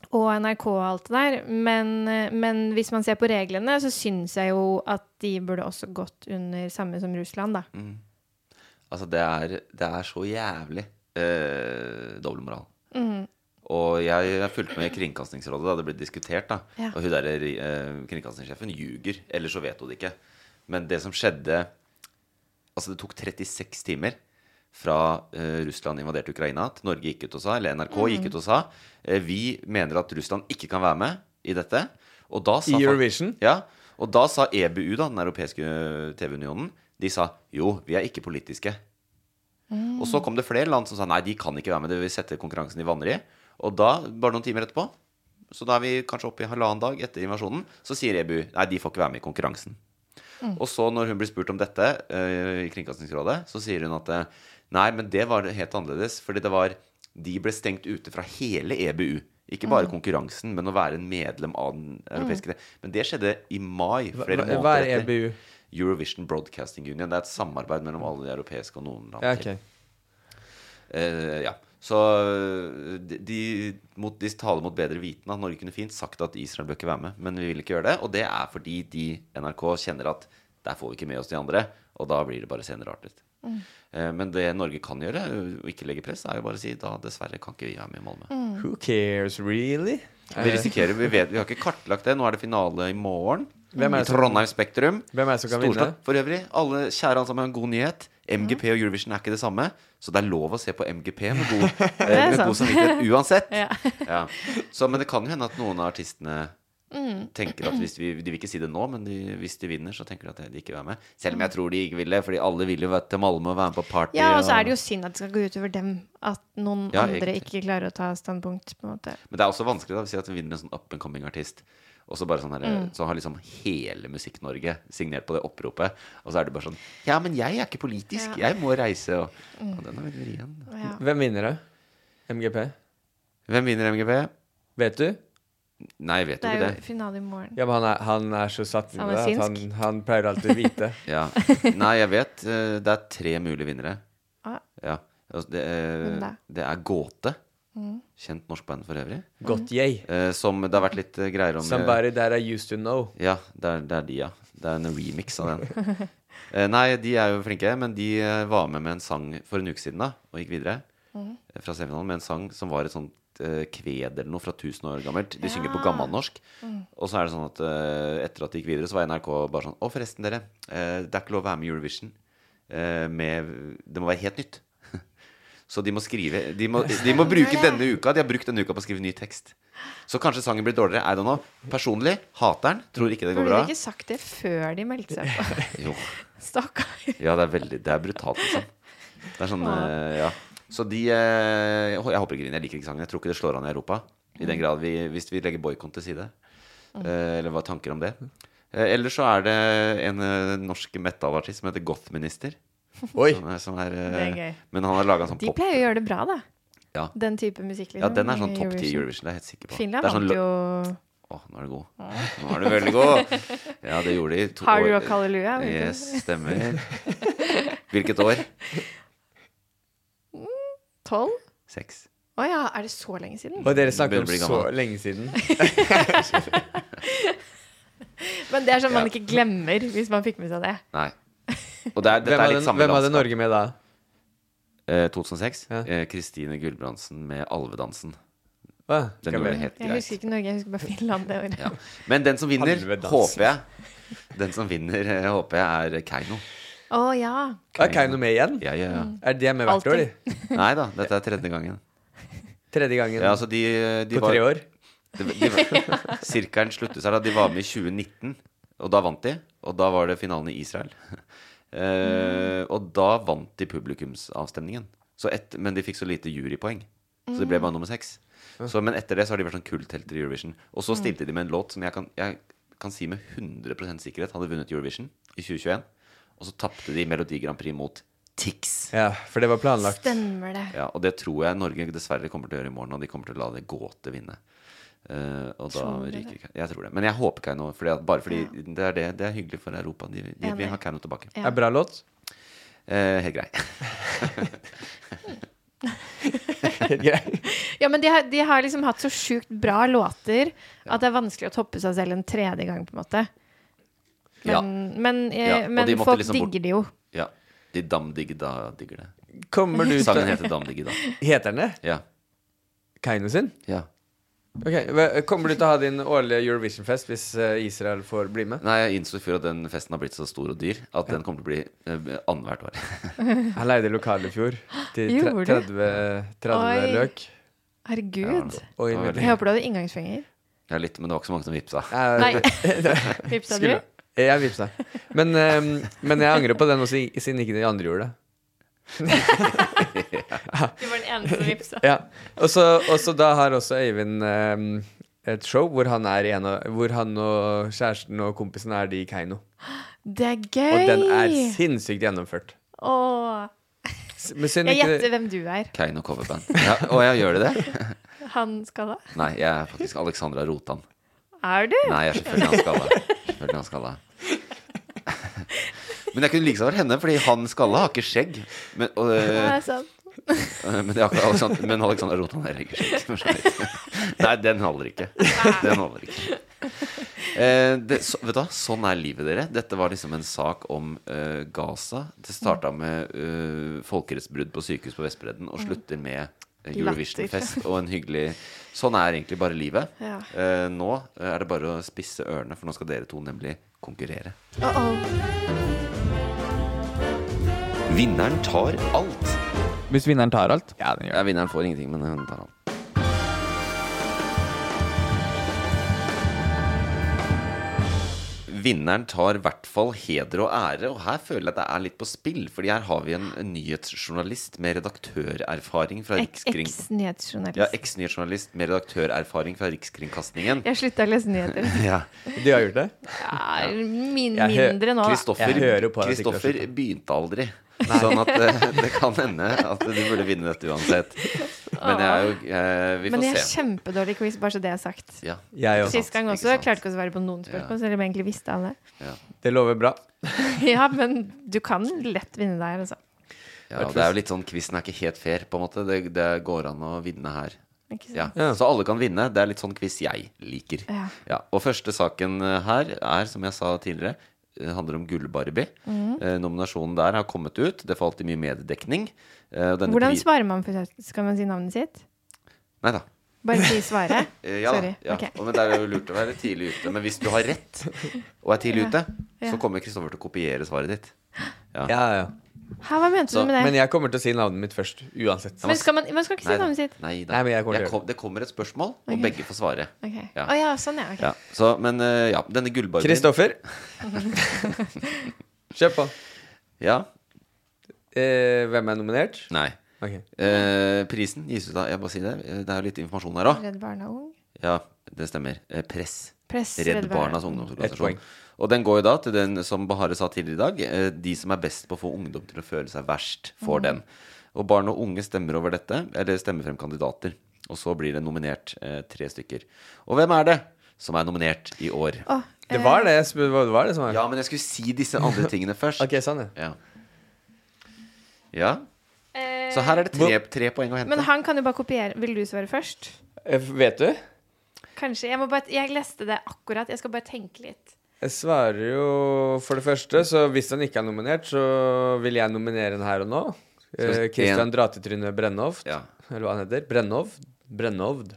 S4: og NRK og alt det der. Men, eh, men hvis man ser på reglene, så syns jeg jo at de burde også gått under samme som Russland, da.
S3: Altså, det er, det er så jævlig eh, dobbeltmoral. Og jeg fulgte med i Kringkastingsrådet da det ble diskutert. da
S4: Ja.
S3: Og hun der eh, kringkastingssjefen ljuger, eller så vet hun det ikke. Men det som skjedde Altså, det tok 36 timer fra eh, Russland invaderte Ukraina til Norge gikk ut og sa, eller NRK gikk ut og sa, eh, vi mener at Russland ikke kan være med i dette. Og da sa
S2: I
S3: fak-
S2: Eurovision?
S3: Ja. Og da sa EBU, da, den europeiske TV-unionen, de sa jo, vi er ikke politiske. Og så kom det flere land som sa nei, de kan ikke være med, det vil sette konkurransen i vanry. Og da, bare noen timer etterpå, så da er vi kanskje oppe i halvannen dag etter invasjonen, så sier EBU nei, de får ikke være med i konkurransen.
S2: Mm.
S3: Og så når hun blir spurt om dette eh, i Kringkastingsrådet, så sier hun at eh, nei, men det var helt annerledes, fordi det var de ble stengt ute fra hele EBU. Ikke bare
S2: Mm.
S3: konkurransen, men å være en medlem av den europeiske Men det skjedde i mai.
S2: Hva-
S3: Flere
S2: hva- E
S3: måneder
S2: hva er
S3: etter.
S2: EBU?
S3: Eurovision Broadcasting Union. Det er et samarbeid mellom alle de europeiske og noen land.
S2: Ja,
S3: til.
S2: ok.
S3: Eh, ja. Så eh, de, de, mot, de taler mot bedre vitende. Norge kunne fint sagt at Israel bør ikke være med, men vi vil ikke gjøre det. Og det er fordi de, NRK, kjenner at der får vi ikke med oss de andre, og da blir det bare senere artet. Eh, men det Norge kan gjøre, eh, og ikke legge press, er jo bare å si da dessverre kan ikke vi være med i Malmö.
S4: Mm.
S2: Who cares, really?
S3: Vi risikerer, vi, vet, vi har ikke kartlagt det. Nå er det finale i morgen.
S2: Hvem er
S3: I
S2: det som-
S3: Trondheim Spektrum.
S2: Hvem er det som kan vinne?
S3: Storslått for øvrig. Alle kjære alle sammen, en god nyhet. MGP og Eurovision er ikke det samme, så det er lov å se på MGP med
S4: [LAUGHS]
S3: god, eh, med
S4: sant.
S3: god samvittighet uansett.
S4: Ja.
S3: Ja. Så, men det kan jo hende at noen av artistene
S4: Mm.
S3: tenker at hvis vi, De vil ikke si det nå, men de, hvis de vinner, så tenker de at de ikke vil være med. Selv om jeg tror de ikke ville, fordi alle vil jo være til Malmö og være med på party.
S4: Mm. Ja, og så er det jo synd at det skal gå utover dem. At noen
S3: Ja,
S4: andre
S3: egentlig.
S4: ikke klarer å ta standpunkt. på en måte.
S3: Men det er også vanskelig da, å si at vi vinner en sånn up and coming artist. Og så bare sånn her,
S4: Mm.
S3: så har liksom hele Musikk-Norge signert på det oppropet. Og så er det bare sånn Ja, men jeg er ikke politisk. Jeg må reise. Og,
S4: Mm.
S3: og den er veldig vrien.
S4: Ja.
S2: Hvem vinner det? MGP?
S3: Hvem vinner MGP?
S2: Vet du?
S3: Nei, jeg vet
S4: Det
S3: jo
S4: er
S3: ikke
S4: jo
S3: det.
S4: finale i morgen.
S2: Ja, men han er, han er så satt
S4: Han
S2: i
S4: er
S2: det at han,
S4: synsk.
S2: han pleier alltid å vite.
S3: Ja.
S4: [LAUGHS]
S3: Nei, jeg vet. eh, Det er tre mulige vinnere.
S4: Ah.
S3: Ja. Altså, Det,
S4: Hvem
S3: eh,
S4: da? Mm.
S3: det er Gåte. Kjent norsk band for øvrig.
S2: Godt yay.
S3: eh, Som det har vært litt eh, greier om eh,
S2: Somebody that I used to know.
S3: Ja, det er, det er de, ja. Det er en remix av den. Eh, Nei, de er jo flinke, men de eh, var med med en sang for en uke siden da, og gikk videre eh, fra semifinalen med en sang som var et sånt eh, kved eller noe fra 1000 år gammelt. De synger på gammelnorsk. Og så er det sånn at eh, etter at de gikk videre, så var NRK bare sånn Å, forresten, dere. eh, Det er ikke lov å være med i Eurovision. eh, Med Det må være helt nytt. [LAUGHS] Så de må skrive De må, de må bruke denne uka De har brukt denne uka på å skrive ny tekst. Så kanskje sangen blir dårligere. I don't know. Personlig hater den. Tror ikke det går
S4: Burde
S3: bra.
S4: de ikke sagt det før de meldte seg på?
S3: [LAUGHS] Jo.
S4: Stakkar.
S3: Ja, det er veldig Det er brutalt, liksom. Det er sånn eh, Ja. Så de eh, Jeg hå- jeg håper ikke griner. Jeg liker ikke sangen. Jeg tror ikke det slår an i Europa. I
S4: Mm.
S3: den grad vi Hvis vi legger boikott til side. Eh, Eller hva er tanker om det? Eh, Eller så er det en eh, norsk metalartist som heter Gothminister.
S2: Oi.
S3: Som er, som er,
S4: Det er
S3: eh,
S4: gøy.
S3: men han har laga en sånn
S4: De
S3: pop...
S4: pleier å gjøre det bra, da.
S3: Ja.
S4: Den type musikk. Liksom,
S3: Ja, den er sånn
S4: i
S3: topp ti i Eurovision. Det er jeg helt sikker på.
S4: Finland
S3: det er sånn,
S4: vant
S3: lø-
S4: jo
S3: Å, nå er du god. Nå er du veldig
S4: [LAUGHS]
S3: god. Ja, det gjorde de i to
S4: Hard Rock Hallelujah. vet du.
S3: Yes, stemmer. Hvilket år?
S4: [LAUGHS] 12?
S3: Seks.
S4: Å ja, er det så lenge siden?
S2: Og dere snakker om
S3: Begynner å bli
S2: så
S3: gammel.
S2: lenge siden.
S4: Men det er sånn man
S3: Ja.
S4: ikke glemmer hvis man fikk med seg det.
S2: [LAUGHS]
S3: Nei. Og det er, dette
S2: Hvem
S3: er
S2: hadde,
S3: litt samme
S2: hvem hadde
S3: landskap.
S2: Norge med da?
S3: Eh, 2006.
S2: Ja.
S3: Eh, Kristine Gulbrandsen med Alvedansen.
S2: Hva?
S3: Den gjorde det helt
S4: Jeg
S3: greit.
S4: husker ikke Norge, jeg husker bare Finland det året.
S3: Ja. Men den som vinner,
S2: Alvedansen.
S3: håper jeg Den som vinner, eh, håper jeg, er Keiino.
S4: Å ja.
S2: Er Keiino med igjen?
S3: Ja, ja, ja.
S2: Er de med hvert år,
S4: Alltid.
S2: de?
S3: Nei da, dette er tredje gangen.
S2: Tredje gangen
S3: Ja, altså de, de
S2: på
S3: var,
S2: tre år?
S3: De, de, [LAUGHS] sirkelen sluttet seg da. De var med i 2019, og da vant de. Og da var det finalen i Israel. [LAUGHS] Eh, og da vant de publikumsavstemningen. Så ett- men de fikk så lite jurypoeng, så de ble bare nummer seks. Så, men etter det så har de vært sånn kulthelter i Eurovision. Og så stilte de med en låt som jeg kan, jeg kan si med 100 sikkerhet hadde vunnet Eurovision i 2021. Og så tapte de Melodi Grand Prix mot Tix.
S2: Ja, for det var planlagt.
S4: Stemmer det.
S3: Ja, og det tror jeg Norge dessverre kommer til å gjøre i morgen, og de kommer til å la det gåte vinne. Eh, og da
S4: Tror du det?
S3: ryker Keiino. Jeg tror det. Men jeg håper Keiino, fordi at, bare fordi det, er det, det er hyggelig for Europa. De, de,
S4: Enig.
S3: vi har Keiino tilbake.
S2: Er bra låt?
S3: [LAUGHS]
S2: [LAUGHS]
S3: Eh, helt grei.
S2: Helt grei.
S4: Ja, men de har, de har liksom hatt så sjukt bra låter at det er vanskelig å toppe seg selv en tredje gang, på en måte. Men,
S3: Ja.
S4: men, eh,
S3: Ja, og
S4: men
S3: de måtte
S4: folk
S3: liksom bort-
S4: digger det jo.
S3: ja. De damdigda digger det.
S2: Kommer du
S3: Sangen
S2: til
S3: heter Damdigda.
S2: Heter den det?
S3: Ja.
S2: Keiino sin?
S3: ja.
S2: Ok, hva- Kommer du til å ha din årlige Eurovision-fest hvis eh, Israel får bli med?
S3: Nei, jeg innså i fjor at den festen har blitt så stor og dyr at den kommer til å bli eh, annethvert år.
S2: Jeg leide lokale i fjor til tre-
S4: Gjorde du?
S2: 30, 30
S4: Oi.
S2: løk.
S4: Herregud.
S2: Og
S3: Det var veldig-
S2: inviterte
S4: Jeg håper du hadde inngangspenger.
S3: Ja, litt, men det var ikke så mange som vippsa. [LAUGHS]
S4: Nei.
S2: Jeg,
S4: Vipsa du?
S2: skulle, jeg vipsa. Men, eh, men jeg angrer på den også, i- siden ikke de andre gjorde det.
S4: Du var den eneste som vipsa.
S2: Ja. Og så og så da har også Øyvind eh, et show hvor han, er i en av, hvor han og kjæresten og kompisen er de i Keiino.
S4: Det er gøy!
S2: Og den er sinnssykt gjennomført.
S4: Åh.
S2: S- Men synd
S4: Jeg gjetter
S2: ikke
S4: hvem du er.
S3: Keiino coverband. Ja, og jeg gjør det det?
S4: Han skalla?
S3: Nei, jeg er faktisk Alexandra Rotan.
S4: Er du?
S3: Nei, jeg er selvfølgelig han skalla. Selvfølgelig han skalla. [LAUGHS] Men jeg kunne like så godt vært henne, fordi han skalla har ikke skjegg. Men, og,
S4: Det
S3: øh,
S4: er sant.
S3: øh, men, det har ikke Alexander, men Alexander Rotan har ikke skjegg. for så vidt. [LAUGHS] Nei, den holder ikke. Den holder ikke. Eh, det, så, vet du hva, Sånn er livet, dere. Dette var liksom en sak om øh, Gaza. Det starta med øh, folkerettsbrudd på sykehus på Vestbredden og slutter med eh, Eurovision-fest og en hyggelig Sånn er egentlig bare livet.
S4: Ja.
S3: Eh, nå er det bare å spisse ørene, for nå skal dere to nemlig konkurrere.
S4: Åh, åh.
S3: Vinneren tar alt.
S5: Hvis vinneren tar alt?
S2: Ja, den gjør det.
S3: Ja, vinneren får ingenting, men hun tar alt. Vinneren tar i hvert fall heder og ære, og her føler jeg at det er litt på spill. Fordi her har vi en nyhetsjournalist med redaktørerfaring fra
S4: Ek-
S3: Rikskring... Ja,
S4: Eks-nyhetsjournalist.
S3: eks-nyhetsjournalist med redaktørerfaring fra Rikskringkastingen.
S4: Jeg slutta å lese nyheter.
S3: Ja.
S2: De har gjort det?
S4: Ja, min,
S2: Jeg hø-
S4: mindre nå, da.
S2: Jeg
S3: Kristoffer,
S2: hører på deg at det ikke har
S3: Kristoffer begynte aldri. Sånn at eh, det kan hende at du burde vinne dette
S4: [LAUGHS]
S3: uansett. Men jeg er jo eh, Vi
S4: Men
S3: får
S4: jeg er
S3: se.
S4: kjempedårlig i quiz, bare så det er sagt.
S3: Ja.
S2: Jeg også.
S4: Sist gang
S3: Ikke
S4: også.
S3: sant.
S4: Jeg klarte ikke å svare på noen spørsmål, selv om jeg egentlig visste alle. [LAUGHS]
S2: Det lover bra.
S4: Ja, men du kan lett vinne der, altså.
S3: ja, og det er jo litt sånn quizen er ikke helt fair, på en måte. Det, det går an å vinne her.
S4: Ikke sant?
S3: Ja. Så alle kan vinne. Det er litt sånn quiz jeg liker.
S4: Ja.
S3: Ja, og første saken eh, her er, som jeg sa tidligere, eh, handler om Gull-Barbie.
S4: Mm.
S3: Eh, nominasjonen der har kommet ut. Det falt i mye mediedekning. Eh, og denne
S4: Hvordan
S3: pri-
S4: svarer man for Skal man si navnet sitt?
S3: Nei da.
S4: Bare si svaret?
S3: Eh, Ja, da,
S4: Sorry.
S3: ja.
S4: Ok.
S3: Og, men det er jo lurt å være tidlig ute. Men hvis du har rett og er tidlig ute,
S4: Ja.
S3: så kommer Kristoffer til å kopiere svaret ditt.
S2: Ja, ja.
S4: Hæ, hva mente
S3: Så-
S4: du med det?
S2: Men jeg kommer til å si navnet mitt først, uansett.
S4: Men skal man, man skal ikke si
S3: Nei da.
S4: navnet sitt?
S3: Nei da.
S2: Nei, men jeg kommer
S3: Jeg
S2: til å gjøre
S3: kom, det kommer et spørsmål, og
S4: Ok.
S3: begge får svare.
S4: Ok.
S3: Ja.
S4: Å ja, sånn ja. ok.
S3: Ja, så, men eh, ja, denne gullbarbien
S4: [LAUGHS]
S2: Kristoffer. Kjør på.
S3: Ja,
S2: Eh, hvem er nominert?
S3: nei
S2: Ok.
S3: Eh, Prisen gis ut av, jeg bare sier det eh, Det er jo litt informasjon her også
S4: Redd Barna Ung.
S3: Ja, det stemmer Eh, Press
S4: Press.
S3: Redd Barnas
S2: Ett poeng.
S3: ungdomsorganisasjon. Og den går jo da til den som Bahare sa tidligere i dag. eh, De som er best på å få ungdom til å føle seg verst, får
S4: Mhm.
S3: den. Og barn og unge stemmer over dette, eller stemmer frem kandidater. Og så blir det nominert eh, tre stykker. Og hvem er det som er nominert i år?
S4: Å,
S2: Det var det, jeg spør- hva- det var det som var
S3: Ja, men jeg skulle si disse andre tingene først.
S2: [LAUGHS] Ok, sånn, ja.
S3: Ja. ja.
S4: eh,
S3: Så her er det tre, tre poeng å hente.
S4: Men han kan jo bare kopiere. Vil du svare først?
S2: Eh, Vet du?
S4: Kanskje. Jeg, må bare, jeg leste det akkurat. Jeg skal bare tenke litt.
S2: Jeg svarer jo for det første, så hvis han ikke er nominert, så vil jeg nominere han her og nå. Eh,
S3: Så en-
S2: Christian Dratetryne Brennhoft,
S3: Ja.
S2: eller hva han heter. Brennhovd. Brennhovd.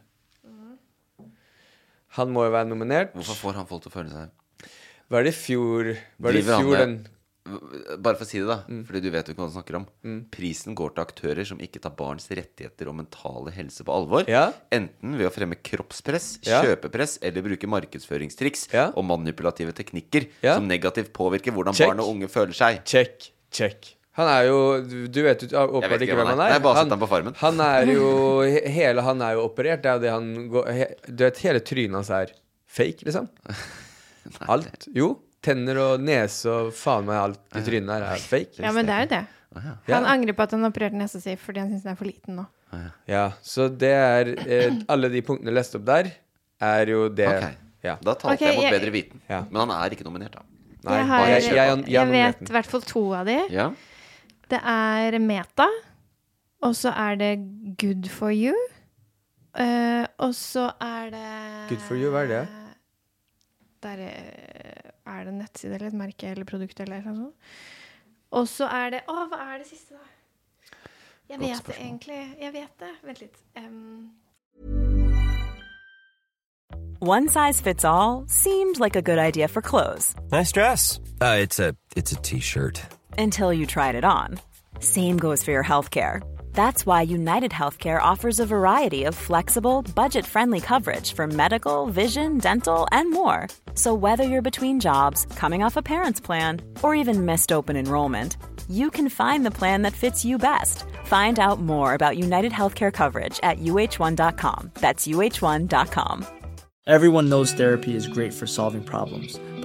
S2: Han må jo være nominert.
S3: Hvorfor får han folk til å føle seg
S2: Var det i fjor Var det i
S3: Driver han
S2: fjor
S3: med-
S2: den Mm.
S3: Bare for å si det, da, fordi du vet jo ikke hva du snakker om. Prisen går til aktører som ikke tar barns rettigheter og mentale helse på alvor.
S2: Ja.
S3: Enten ved å fremme kroppspress,
S2: Ja.
S3: kjøpepress eller bruke markedsføringstriks
S2: Ja.
S3: og manipulative teknikker
S2: Ja.
S3: som negativt påvirker hvordan
S2: Check.
S3: barn og unge føler seg.
S2: Check, check. Han er jo du- Du vet jo åpenbart ikke hvem han er.
S3: Nei, bare sett ham på Farmen.
S2: Han er jo he- Hele han er jo operert. Det er jo det han går he, Du vet, hele trynet hans er fake, liksom. Alt. Jo. Tenner og nese og faen meg alt i trynet her er fake.
S4: Ja, men det er jo det.
S2: Ja.
S4: Han angrer på at han opererte nesa si fordi han syns den er for liten nå.
S2: Ja, så det er eh, Alle de punktene jeg leste opp der, er jo det
S3: Ok.
S2: Ja.
S3: Da talte
S4: Ok,
S3: jeg mot
S4: jeg-
S3: bedre viten.
S2: Ja.
S3: Men han er ikke nominert, da.
S2: Nei,
S4: jeg, har,
S2: jeg,
S4: jeg,
S2: jeg, jeg, jeg nominerte
S4: vet
S2: den.
S4: i hvert fall to av de.
S3: Ja.
S4: Det er Meta, og så er det Good for you. eh, og så er det
S2: Good for you, hva er det?
S4: Der eh, er det en nettside eller et merke eller produkt eller noe sånt. Og så er det Å, hva er det siste, da? Jeg
S3: Godt
S4: vet det
S3: spørsmål.
S4: egentlig. Jeg vet det. Vent litt. Em,
S6: One size fits all seemed like a good idea for clothes
S7: Nice dress. Uh, it's a it's a t-shirt.
S6: until you tried it on. Same goes for your healthcare. That's why United Healthcare offers a variety of flexible, budget friendly coverage for medical, vision, dental, and more. So, whether you're between jobs, coming off a parent's plan, or even missed open enrollment, you can find the plan that fits you best. Find out more about United Healthcare coverage at uh1.com. That's uh1.com.
S8: Everyone knows therapy is great for solving problems,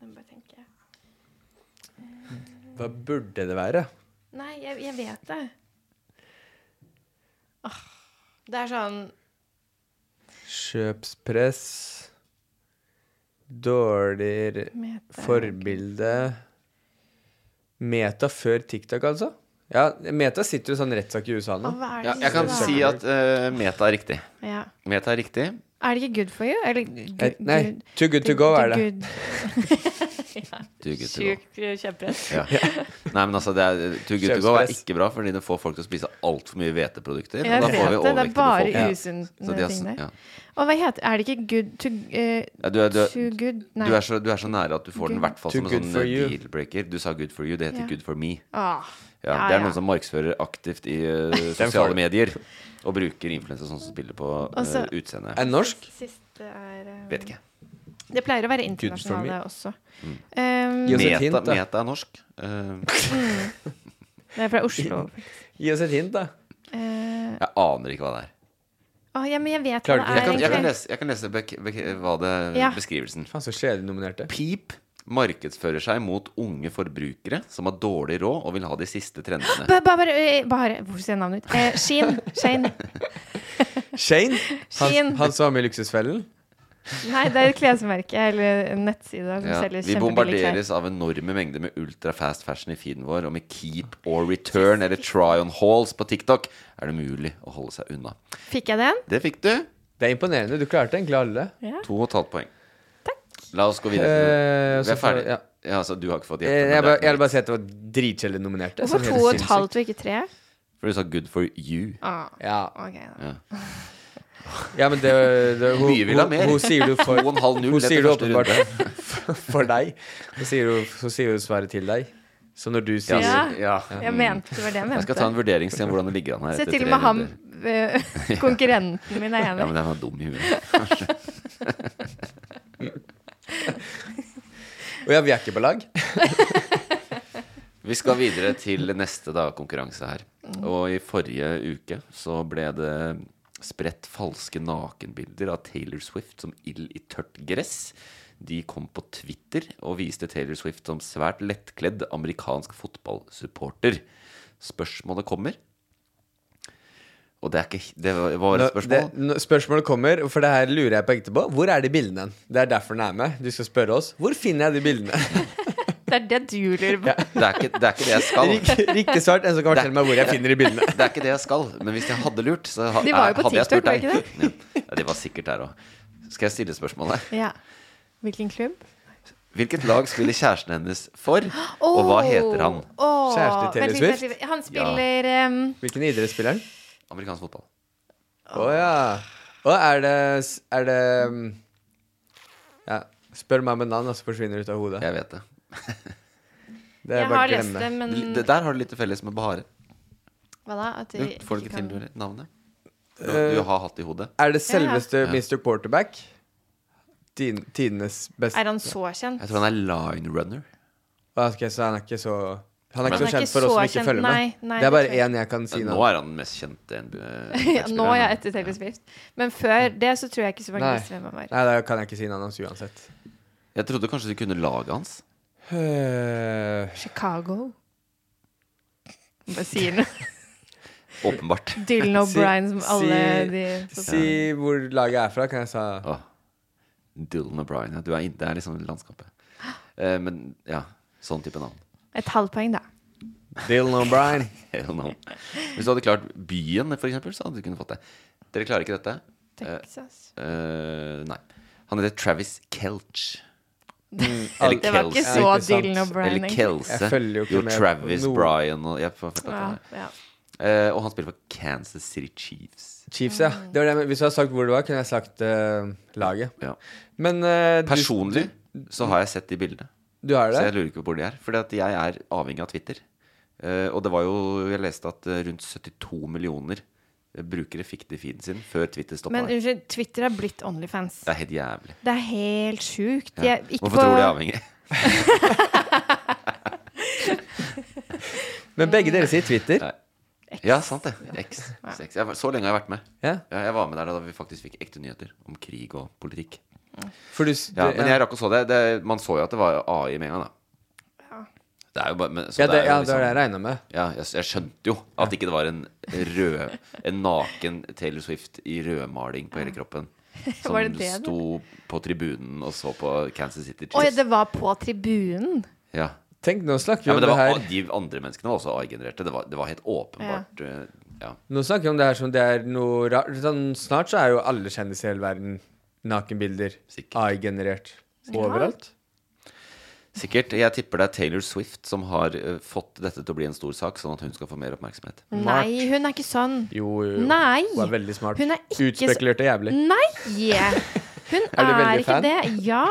S4: jeg må bare tenke.
S2: Hva burde det være?
S4: Nei, jeg, jeg vet det. Åh, det er sånn
S2: Kjøpspress. Dårlig
S4: Meta.
S2: forbilde. Meta før TikTok, altså? Ja, Meta sitter jo i sånn rettssak i USA
S4: Å,
S2: nå.
S4: hva er det
S3: ja. Jeg
S4: siste
S3: kan
S4: da?
S3: si at eh, Meta er riktig.
S4: ja.
S3: Meta er riktig.
S4: Er det ikke good for you? Eller good,
S2: Eh, Nei, Too Good To Go er det.
S3: Too good to go.
S4: Sjukt eh, kjempress.
S3: Ja. Nei, men altså, det er, Too good to go er ikke bra, fordi det får folk til å spise altfor mye hveteprodukter.
S4: Jeg
S3: og da får
S4: vet
S3: vi
S4: det. Det
S3: overvektige
S4: er bare
S3: befolkning.
S4: usunne
S3: Så de har-
S4: ting der.
S3: ja.
S4: Og hva heter Er det ikke good to eh,
S3: Ja, du, er, du,
S4: Too
S3: er,
S4: good
S3: du, er så, du er så nære at du får den i
S4: Good.
S3: hvert fall
S2: Too
S3: som en
S2: good
S3: sånn
S2: for you.
S3: deal-breaker. Du sa 'good for you', det heter
S4: Ja.
S3: 'good for me'.
S4: Ah.
S3: Ja,
S4: Ja,
S3: det er
S4: ja.
S3: noen som markedsfører aktivt i eh,
S2: Den
S3: sosiale
S2: får-
S3: medier. Og bruker influensa sånn som spiller på
S4: Og så-
S3: uh, utseendet.
S2: Er den norsk?
S4: Siste er eh,
S3: Vet ikke.
S4: Det pleier å være
S2: Good for me.
S4: internasjonale også.
S3: Mm.
S4: Um,
S2: Gi oss et
S3: Meta,
S2: hint, da.
S3: meta er norsk. Eh,
S4: det er fra Oslo.
S2: Gi oss et hint, da.
S4: Eh,
S3: jeg aner ikke hva det er.
S4: å, Ah, ja, men jeg vet
S2: Klarer
S4: hva det
S2: du
S3: Jeg
S4: er.
S3: kan, jeg kan
S4: egentlig.
S3: lese, jeg kan lese bek, bek, hva det,
S4: Ja.
S3: beskrivelsen.
S2: Faen, så kjedelig nominerte.
S3: Pip markedsfører seg mot unge forbrukere som har dårlig råd og vil ha de siste trendene.
S4: Ba- ba- Bare, eh, bare Hvor ser navnet ut? Eh,
S3: [LAUGHS]
S4: Sheen. Shane. [LAUGHS]
S2: Shane? Han,
S4: Shane.
S2: han som var med i Luksusfellen?
S4: Nei, det er et klesmerke eller en nettside som
S3: Ja,
S4: selger
S3: vi
S4: kjempebillige klær.
S3: bombarderes av enorme mengder med ultra fast fashion i feeden vår, og med keep or return eller try on hauls på TikTok er det mulig å holde seg unna.
S4: Fikk jeg den?
S3: Det fikk du.
S2: Det er imponerende. Du klarte egentlig alle.
S3: To og et halvt poeng. La oss gå videre.
S2: Eh,
S3: til- Vi
S2: så
S3: er
S2: får-
S3: ferdige.
S2: ja.
S3: Ja, altså, du har ikke fått
S2: Eh,
S3: gjette. men det
S2: Jeg
S3: er
S2: bare-
S3: ikke
S2: jeg
S3: noe
S2: vil bare si at det var dritkjedelig nominerte. som
S4: Hvorfor
S2: helt
S4: to og et
S2: sinnssykt.
S4: halvt og ikke tre?
S3: vits. For du sa 'good for you'.
S4: Ah,
S2: Ja,
S4: ok da.
S3: Ja.
S2: ja, men det, det hun,
S3: Mye vil ha
S2: hun-
S3: mer.
S2: Hun sier du
S3: [LAUGHS]
S2: for
S3: To og en halv null
S2: Hun
S3: etter
S2: sier det
S3: første runde.
S2: åpenbart for deg. Så sier hun, så sier hun svaret til deg. Så når du sier
S4: Ja.
S3: ja.
S4: Jeg mente det var det jeg
S3: Jeg
S4: mente.
S3: skal ta en vurderingsstil om hvordan det ligger an her.
S4: Se
S3: etter
S4: til og
S3: tre
S4: med ham,
S3: runder. [LAUGHS]
S4: eh, konkurrenten min, er
S3: Ja,
S4: enig.
S3: men den var dum i huet.
S2: Og ja, vi er ikke på lag.
S3: Vi skal videre til neste da, konkurranse her. Og i forrige uke så ble det spredt falske nakenbilder av Taylor Swift som ild i tørt gress. De kom på Twitter og viste Taylor Swift som svært lettkledd amerikansk fotballsupporter. Spørsmålet kommer. Og det, er ikke, det var var
S2: Nå-
S3: et spørsmål.
S2: det- nå- spørsmålet kommer, for det her lurer jeg på ekte på. Hvor er de bildene? Det er derfor den er med. Du skal spørre oss. Hvor finner jeg de bildene?
S4: Det er det du lurer på.
S3: Det, er ikke, det er ikke [LAUGHS] det jeg skal.
S2: Riktig, riktig svart. En som kan fortelle meg
S3: [LAUGHS]
S2: hvor jeg finner de bildene.
S3: Det er ikke det jeg skal, men hvis jeg hadde lurt, så ha,
S4: De var jo på
S3: hadde jeg
S4: TikTok,
S3: spurt
S4: var
S3: deg. Ja, de var sikkert der òg. Skal jeg stille spørsmålet?
S4: Ja. Hvilken klubb?
S3: Hvilket lag spiller kjæresten hennes for, og hva heter han?
S4: Åh,
S2: Kjæreste til
S4: vent litt,
S2: Taylor
S4: vent
S2: Swift?
S4: litt. Han spiller ehm,
S2: Hvilken idrettsspiller?
S3: Amerikansk fotball.
S2: Å ja. Å, er det s- Er det mm, Ja. Spør meg om et navn, og så forsvinner det ut av hodet.
S3: Jeg vet det.
S2: Det er
S4: Jeg
S2: bare å
S4: har lest
S2: glemme
S4: det,
S2: det.
S4: men
S3: det der har du litt til felles med Bahare.
S4: hva da? At
S3: Du
S4: de
S3: får det ikke
S4: ikke
S3: til
S4: kan-
S3: du, navnet. Du,
S2: Eh.
S3: du har hatt det i hodet.
S2: Er det selveste Mr. Quarterback? Tin- Tidenes beste
S4: Er han så kjent?
S3: Jeg tror han er line runner.
S2: Ok, Så han er ikke så Han er
S4: Men-
S2: ikke
S4: Han
S2: så
S4: er
S2: kjent
S4: ikke
S2: for oss
S4: så
S2: som ikke
S4: kjent,
S2: følger med.
S4: nei, nei,
S2: det er
S4: det
S2: bare
S4: tror jeg.
S2: én jeg kan si
S3: Nå
S2: nå.
S3: er han den mest eh, kjente
S4: [LAUGHS] [LAUGHS] Ja, nå er jeg
S3: NBA-spilleren.
S4: etter Taylor Swift. Men før det så tror jeg ikke så mange
S2: Nei.
S4: visste hvem han var.
S2: Nei, da kan jeg ikke si navnet hans uansett.
S3: Jeg trodde kanskje du kunne laget hans.
S2: Øh,
S4: Chicago. Bare sier
S3: [LAUGHS]
S4: noe.
S3: Åpenbart.
S4: Dylan O'Brien som
S2: Si-
S4: alle de
S2: si hvor laget er fra, kan jeg sa
S3: Åh. Dylan O'Brien. Ja, du er inne. Det er liksom landskapet. Eh, men ja, sånn type navn. [LAUGHS]
S4: Et halvt poeng, da.
S2: Dylan [LAUGHS] O'Brien.
S3: Hell no. Hvis du hadde klart byen, for eksempel, så hadde du kunnet fått det. Dere klarer ikke dette?
S4: Texas.
S3: Eh, nei. Han heter Travis Kelch. Eller
S4: Det var ikke
S3: Kelce.
S4: så
S2: Ja, ikke sant.
S4: Dylan O'Brien.
S3: Eller
S4: egentlig.
S3: Kelse.
S2: Jeg følger jo ikke med på
S3: Travis
S2: noe.
S3: Bryan og jeg får fortalt
S4: Ja,
S3: det.
S4: ja.
S3: Eh, og han spiller for Kansas City Chiefs.
S2: Chiefs, ja. Det var det, jeg- hvis du hadde sagt hvor det var, kunne jeg sagt øh, laget.
S3: Ja.
S2: Men øh,
S3: Personlig så har jeg sett de bildene,
S2: du, du har
S3: så jeg
S2: det?
S3: lurer ikke på hvor de er. Fordi at jeg er avhengig av Twitter. Eh, og det var jo Jeg leste at eh, rundt 72 millioner eh, brukere fikk det i feeden sin før Twitter stoppa
S4: Men
S3: det.
S4: unnskyld, Twitter har blitt Onlyfans.
S3: Det er helt jævlig.
S4: Det er helt sjukt.
S3: Ja.
S4: Jeg- ikke
S3: Hvorfor
S4: på-
S3: tror du jeg er avhengig?
S2: Men begge dere sier Twitter.
S3: Nei. Ja, sant det. X.
S4: Ja.
S3: Sex. Jeg, var- så lenge har jeg vært med.
S2: Ja.
S3: Ja, jeg var med der da vi faktisk fikk ekte nyheter om krig og politikk.
S2: For du, s-
S3: Ja,
S2: du-
S3: men jeg rakk å så det. det. Man så jo at det var AI med en gang, da. Det er jo bare, men, så
S2: ja, det,
S3: er jo
S2: ja, det var det jeg
S3: liksom-
S2: regna med.
S3: ja, jeg, jeg skjønte jo at ikke det var en rød En naken Taylor Swift i rødmaling på hele
S4: [LAUGHS]
S3: kroppen. Som
S4: Var det det det?
S3: sto på tribunen og så på Kansas City
S4: Oi,
S3: Chiefs.
S4: det var på tribunen.
S3: Ja.
S2: Tenk, nå snakker vi
S3: ja,
S2: om
S3: men
S2: det,
S3: det var,
S2: her
S3: de andre menneskene var også AI-genererte. Det, var- det var helt åpenbart eh, ja.
S2: Nå snakker vi om det her som det er noe rart sånn, Snart så er jo alle kjendiser i hele verden nakenbilder
S3: Sikkert.
S2: AI-generert overalt.
S3: Sikkert. Jeg tipper det er Taylor Swift som har eh, fått dette til å bli en stor sak, sånn at hun skal få mer oppmerksomhet.
S4: Mm. Nei, hun er ikke sånn.
S2: Jo, jo, jo.
S4: Nei.
S2: Hun er veldig smart.
S4: Hun er ikke så-
S2: Utspekulert og jævlig.
S4: Nei!
S3: [LAUGHS]
S4: Hun
S2: Er du
S4: er,
S2: veldig
S4: ikke
S2: fan?
S4: det. Ja!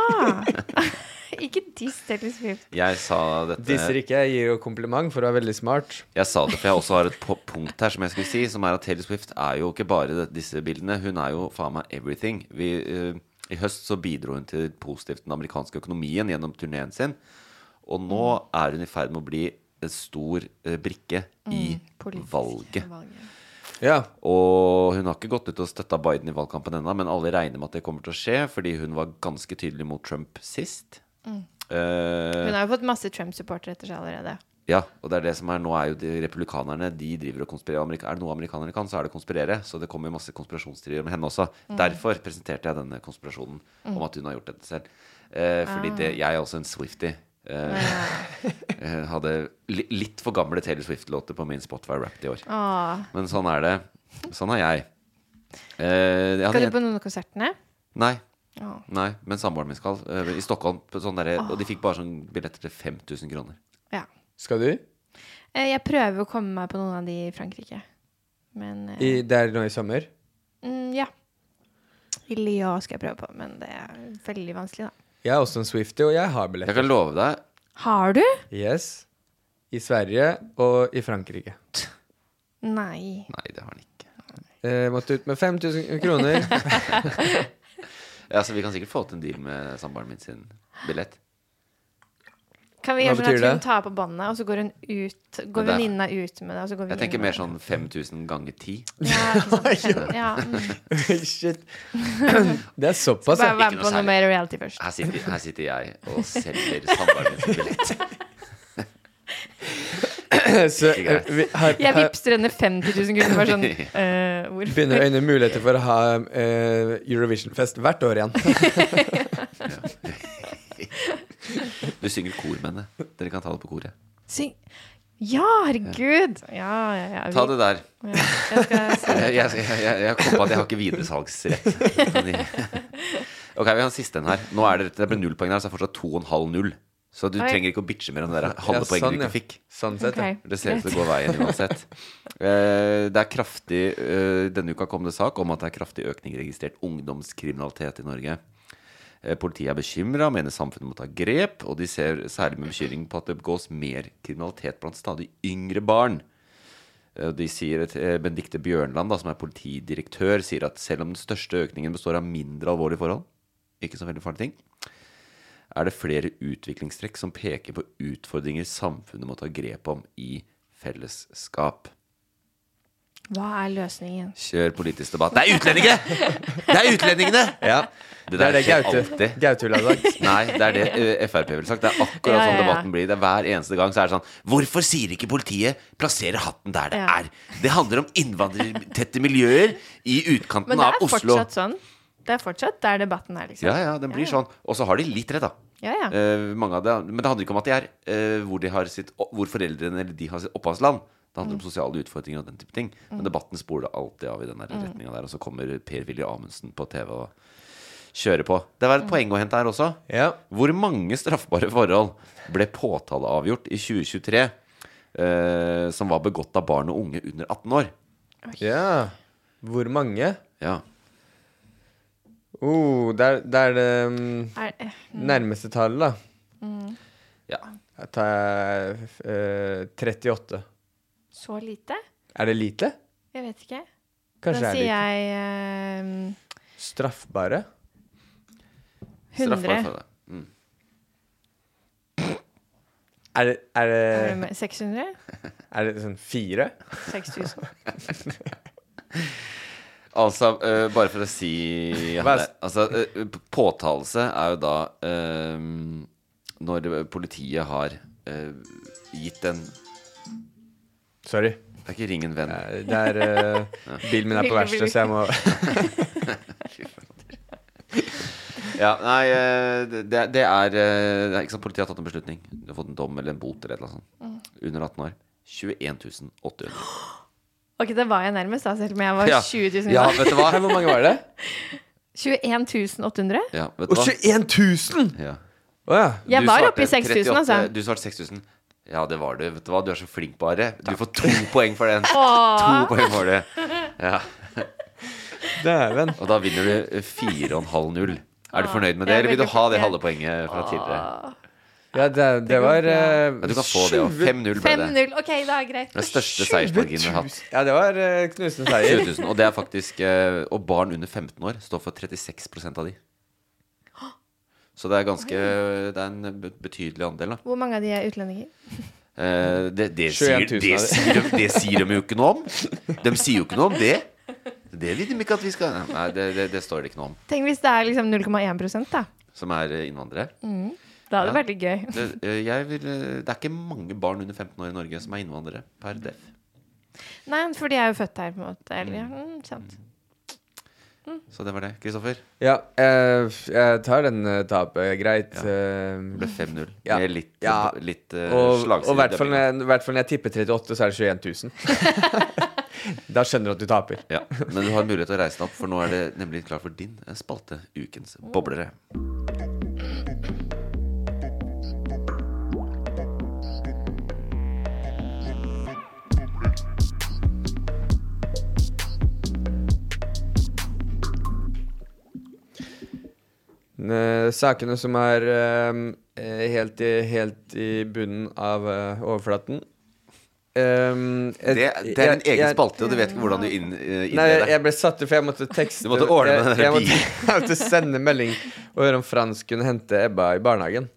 S4: ikke diss Taylor Swift.
S3: Jeg sa dette
S2: Disser ikke, jeg gir jo kompliment for å være veldig smart.
S3: Jeg sa det, for jeg også har et po- punkt her som jeg skulle si, som er at Taylor Swift er jo ikke bare det, disse bildene. Hun er jo faen meg everything. Vi, eh, I høst så bidro hun til positivt den amerikanske økonomien gjennom turneen sin. Og nå er hun i ferd med å bli en stor eh, brikke
S4: Mm,
S3: i valget. Og hun har ikke gått ut og støtta Biden i valgkampen ennå, men alle regner med at det kommer til å skje, fordi hun var ganske tydelig mot Trump sist.
S4: Mm.
S3: Eh,
S4: Hun har jo fått masse Trump-supportere etter seg allerede.
S3: ja, og det er det som er nå er jo de republikanerne De driver og konspirerer. Amerika- Er det noe amerikanere kan, så er det å konspirere. Så det kommer jo masse konspirasjonsteorier om henne også.
S9: Mm.
S3: Derfor presenterte jeg denne konspirasjonen
S9: Mm.
S3: om at hun har gjort dette selv. Eh, fordi
S9: Ah.
S3: det, jeg er også en Swifty. Eh, [LAUGHS] eh, hadde li, litt for gamle Taylor Swift-låter på min Spotify Wrapped i år.
S4: Ah.
S3: Men sånn er det. Sånn er jeg. Eh, jeg
S4: Skal
S3: hadde
S4: du på noen av konsertene?
S3: Nei.
S4: Ah.
S3: Nei, men samboeren min skal. eh, I Stockholm. På sånn derre-
S4: Ah.
S3: Og de fikk bare sånn billetter til 5000 kroner.
S4: Ja.
S2: Skal du?
S4: Eh, Jeg prøver å komme meg på noen av de i Frankrike. Men eh,
S2: I, det er nå i sommer?
S4: mm, Ja. I Lyon skal jeg prøve på, men det er veldig vanskelig, da.
S2: Jeg er også en Swifty, og jeg har billetter.
S3: Jeg kan love deg.
S4: Har du?
S2: Yes. I Sverige og i Frankrike.
S4: Nei.
S3: Nei, det har han ikke.
S2: Eh, måtte ut med 5000 kroner.
S4: [LAUGHS]
S3: Ja, så Vi kan sikkert få til en deal med samboeren min sin billett.
S4: Kan vi
S3: Hva
S4: gjøre sånn
S3: betyr
S4: at hun
S3: det?
S4: tar på båndet, og så går hun ut Går
S3: Det er-
S4: venninna ut med det, og så går vi
S3: Jeg tenker mer sånn 5000 ganger 10.
S4: Ja,
S3: [LAUGHS]
S4: ikke sant. Ja,
S2: Oi, Shit. Det er
S4: Skal
S2: såpass,
S3: Altså,
S4: bare
S2: ja.
S4: være med på noe mer reality først.
S3: Her sitter, her sitter jeg og selger samboeren min sin billett.
S2: Så, eh, vi har,
S4: Jeg
S2: har,
S4: vippser henne 50 000 kroner
S3: [LAUGHS]
S4: bare sånn eh, Hvorfor?
S2: begynner å øyne muligheter for å ha eh, Eurovision-fest hvert år igjen.
S3: Du synger kor med henne. Dere kan ta det på koret.
S4: Syng Ja, herregud! Ja, ja, ja. vi-
S3: Ta det der.
S4: Ja, jeg skal si det.
S3: Jeg, jeg, jeg, jeg kom på at jeg har ikke videresalgsrett. Ok, vi har en siste en her. Nå er det, det ble null poeng her, så det er fortsatt 2,5-0. Så du
S4: Oi.
S3: trenger ikke å bitche mer om det der halve
S2: Ja,
S3: poenget
S2: sånn,
S3: du
S2: ja.
S3: ikke fikk.
S2: Sånn sett, ja. Ok,
S3: Det ser ut til å
S2: greit.
S3: gå veien uansett. Eh, Det er kraftig eh, Denne uka kom det sak om at det er kraftig økning i registrert ungdomskriminalitet i Norge. Eh, Politiet er bekymra, mener samfunnet må ta grep, og de ser særlig med bekymring på at det begås mer kriminalitet blant stadig yngre barn. Eh, De sier at eh, Benedicte Bjørnland, da, som er politidirektør, sier at selv om den største økningen består av mindre alvorlige forhold, ikke så veldig farlige ting, er det flere utviklingstrekk som peker på utfordringer samfunnet må ta grep om i fellesskap.
S4: Hva er løsningen?
S3: Kjør politisk debatt. Det er utlendinger! Det er utlendingene! Ja,
S2: Det er det
S3: skjer
S2: Gaute-
S3: alltid.
S2: Gaute
S3: [LAUGHS]
S2: ville ha sagt.
S3: Nei, det er det eh, Frp ville sagt. Det er akkurat
S4: Ja, ja,
S3: sånn
S4: ja.
S3: debatten blir. Det er Hver eneste gang så er det sånn Hvorfor sier ikke politiet 'plassere hatten der det
S4: Ja.
S3: er'? Det handler om innvandrertette miljøer i utkanten
S4: Men det
S3: av
S4: er
S3: Oslo.
S4: fortsatt sånn. Det er fortsatt der debatten er, liksom.
S3: Ja, ja, den blir sånn. Og så har de litt rett, da.
S4: Ja, ja.
S3: Eh, mange av det, men det handler ikke om at de er eh, hvor, de har sitt, hvor foreldrene eller de har sitt opphavsland. Det handler om
S4: Mm.
S3: sosiale utfordringer og den type ting.
S4: Mm.
S3: Men debatten spoler alltid av i den der
S4: Mm.
S3: retninga der. Og så kommer Per-Willy Amundsen på TV og kjører på. Det
S4: Mm.
S3: var et poeng å hente her også. Hvor mange straffbare forhold ble påtaleavgjort i 2023 eh, som var begått av barn og unge under 18 år?
S2: Ja. Hvor mange?
S3: Ja.
S2: Oh, det er det, er det mm,
S4: Er- eh, mm.
S2: nærmeste tallet, da.
S4: Mm.
S2: Jeg tar eh, 38.
S4: Så lite?
S2: Er det lite?
S4: Jeg vet ikke.
S2: Kanskje
S4: da
S2: er det
S4: sier
S2: lite.
S4: jeg ehm,
S2: Straffbare?
S4: 100.
S3: for det. Mm.
S2: Er det, er
S4: Er det
S2: det
S4: med 600?
S2: Er det sånn fire?
S4: 6000.
S3: Altså, eh, bare for å si
S2: Hva er-
S3: det, altså, eh, p- Påtalelse er jo da eh, når politiet har eh, gitt en
S2: Sorry.
S3: Det er ikke ringen venn.
S2: det er, eh, bilen min er på verksted, så jeg må-
S3: Fy faen. Ja, nei, eh, det, det er eh, det er ikke sant, Politiet har tatt en beslutning. De har fått en dom eller en bot eller et eller annet sånt. Under 18 år. 21 800.
S4: Ok, det var jeg nærmest, da, selv om jeg var
S3: Ja.
S4: 20 000.
S3: Ja, vet du hva? Hvor
S2: [LAUGHS]
S3: mange var det?
S4: 21 800?
S3: Ja, vet
S2: Og 21 000!
S3: Ja.
S4: Jeg
S3: Du
S4: var
S3: svarte
S4: oppe i 6000,
S3: 38
S4: altså.
S3: Du svarte 6000. Ja, det var du. Vet du hva, du er så flink, bare. Du får to poeng for den.
S4: [LAUGHS] Åh.
S3: To poeng for det. Ja.
S2: Dæven.
S3: Og da vinner du 4,5-0. Er du fornøyd med
S2: Jeg
S3: det,
S2: er
S3: eller vil du
S2: veldig
S3: ha det
S2: fornøyd.
S3: halve poenget fra tidligere?
S2: Ja, det, det var eh,
S3: Ja, du kan få det òg.
S2: sjuve-
S3: 5-0 ble det.
S4: 5-0. OK, det er greit.
S3: Den største seiersmarginen vi har hatt.
S2: Ja, det var eh, knusende seier.
S3: 20 000, og det er faktisk eh, Og barn under 15 år står for 36 av de. Så det er ganske Det er en be- betydelig andel, da.
S4: Hvor mange av de er utlendinger?
S3: Eh, det, det,
S2: 21
S3: sier,
S2: 000
S3: det,
S2: av de.
S3: sier de, det sier de jo ikke noe om. De sier jo ikke noe om det. Det vil de ikke at vi skal Nei, det, det, det står det ikke noe om.
S4: Tenk hvis det er liksom 0,1 da.
S3: Som er eh, innvandrere.
S4: Mm. Det hadde
S3: Ja.
S4: vært litt gøy.
S3: Det, eh, jeg vil, eh, det er ikke mange barn under 15 år i Norge som er innvandrere per def.
S4: Nei, for de er jo født her, på en måte. Eller, mm, sant.
S3: Så det var det. Kristoffer?
S2: Ja, eh, jeg tar den eh, tapet. Greit. Det
S3: ble 5-0. Med litt- litt, eh,
S2: og,
S3: slagside
S2: Og i hvert fall når jeg- i hvert fall når jeg tipper 38, så er det 21
S3: [LAUGHS]
S2: 000. da skjønner du at du taper.
S3: Ja, Men du har mulighet til å reise deg opp, for nå er det nemlig klar for din eh, spalte, Ukens boblere.
S2: Eh, sakene som er eh, helt, i, helt i bunnen av eh, overflaten. Um,
S3: Det, det er en egen spalte, og du vet ikke hvordan du inn, eh,
S2: Nei,
S3: innleder.
S2: jeg ble satt ut, for jeg måtte tekste
S3: Du måtte ordne med den
S2: jeg, jeg,
S3: der
S2: måtte, [LAUGHS] jeg måtte sende melding og høre om Frans kunne hente Ebba i barnehagen.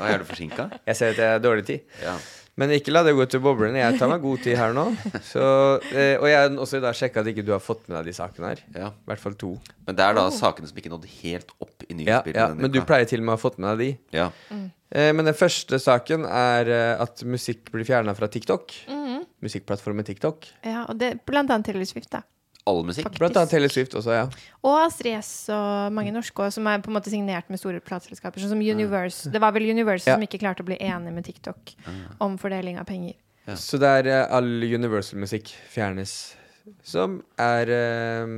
S3: Å, er du forsinka?
S2: Jeg ser at jeg har dårlig tid.
S3: Ja.
S2: Men ikke la det gå til boblene. Jeg tar meg god tid her nå. Så, eh, og jeg har også i dag sjekka at ikke du har fått med deg de sakene her.
S3: Ja.
S2: I hvert fall to.
S3: Men det er da sakene som ikke nådde helt opp i
S2: Ja,
S3: nyhetsbildet.
S2: ja,
S3: denne
S2: men du
S3: uka.
S2: pleier til og med å ha fått med deg de.
S3: ja.
S2: Eh, Men den første saken er eh, at musikk blir fjerna fra TikTok.
S4: Mhm.
S2: Musikkplattformen TikTok.
S4: Ja, og det, blant annet Taylor Swift, da.
S3: All musikk.
S2: Blant annet Taylor Swift også, ja.
S4: Og Astrid S og mange norske også, som er på en måte signert med store plateselskaper. Sånn som Universe. Det var vel Universe
S2: Ja.
S4: som ikke klarte å bli enig med TikTok om fordeling av penger.
S2: Så der eh, all Universal-musikk fjernes. Som er eh,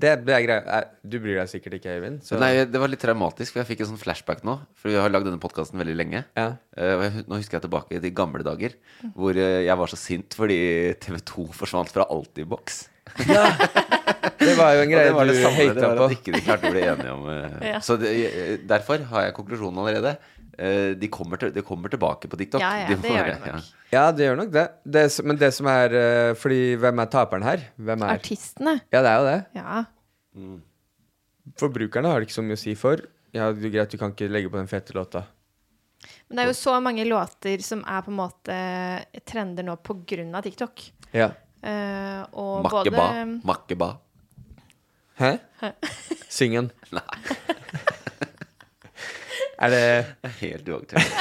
S2: Det, det er greia. Eh, Du bryr deg sikkert ikke, Øyvind. Så
S3: Nei, det var litt traumatisk, for jeg fikk en sånn flashback nå. For vi har lagd denne podkasten veldig lenge. Eh, og jeg, hu- nå husker jeg tilbake i de gamle dager hvor eh, jeg var så sint fordi TV2 forsvant fra Altibox.
S2: det var jo en
S3: Og
S2: greie
S3: det var det
S2: du
S3: samme, det
S2: hata
S3: var
S2: på.
S3: at ikke de klarte å bli enige om eh,
S4: [LAUGHS] Ja.
S3: Så det, eh, derfor har jeg konklusjonen allerede. Eh, De kommer, til, de kommer tilbake på TikTok.
S4: Ja, ja,
S3: De
S4: det
S3: må [LAUGHS]
S4: gjør
S3: bare-
S4: de nok.
S2: Ja, det gjør nok det. det som- men det som er eh, Fordi hvem er taperen her? Hvem er
S4: Artistene.
S2: Ja, det er jo det.
S4: Ja.
S2: Forbrukerne har det ikke så mye å si for. Ja, du, Greit, du kan ikke legge på den fete låta.
S4: Men det er jo så mange låter som er på en måte trender nå på grunn av TikTok.
S2: Ja.
S4: Eh, og både
S3: Makkeba. Makkeba.
S2: Hæ? Syng en. er det
S3: Helt uaktuelt.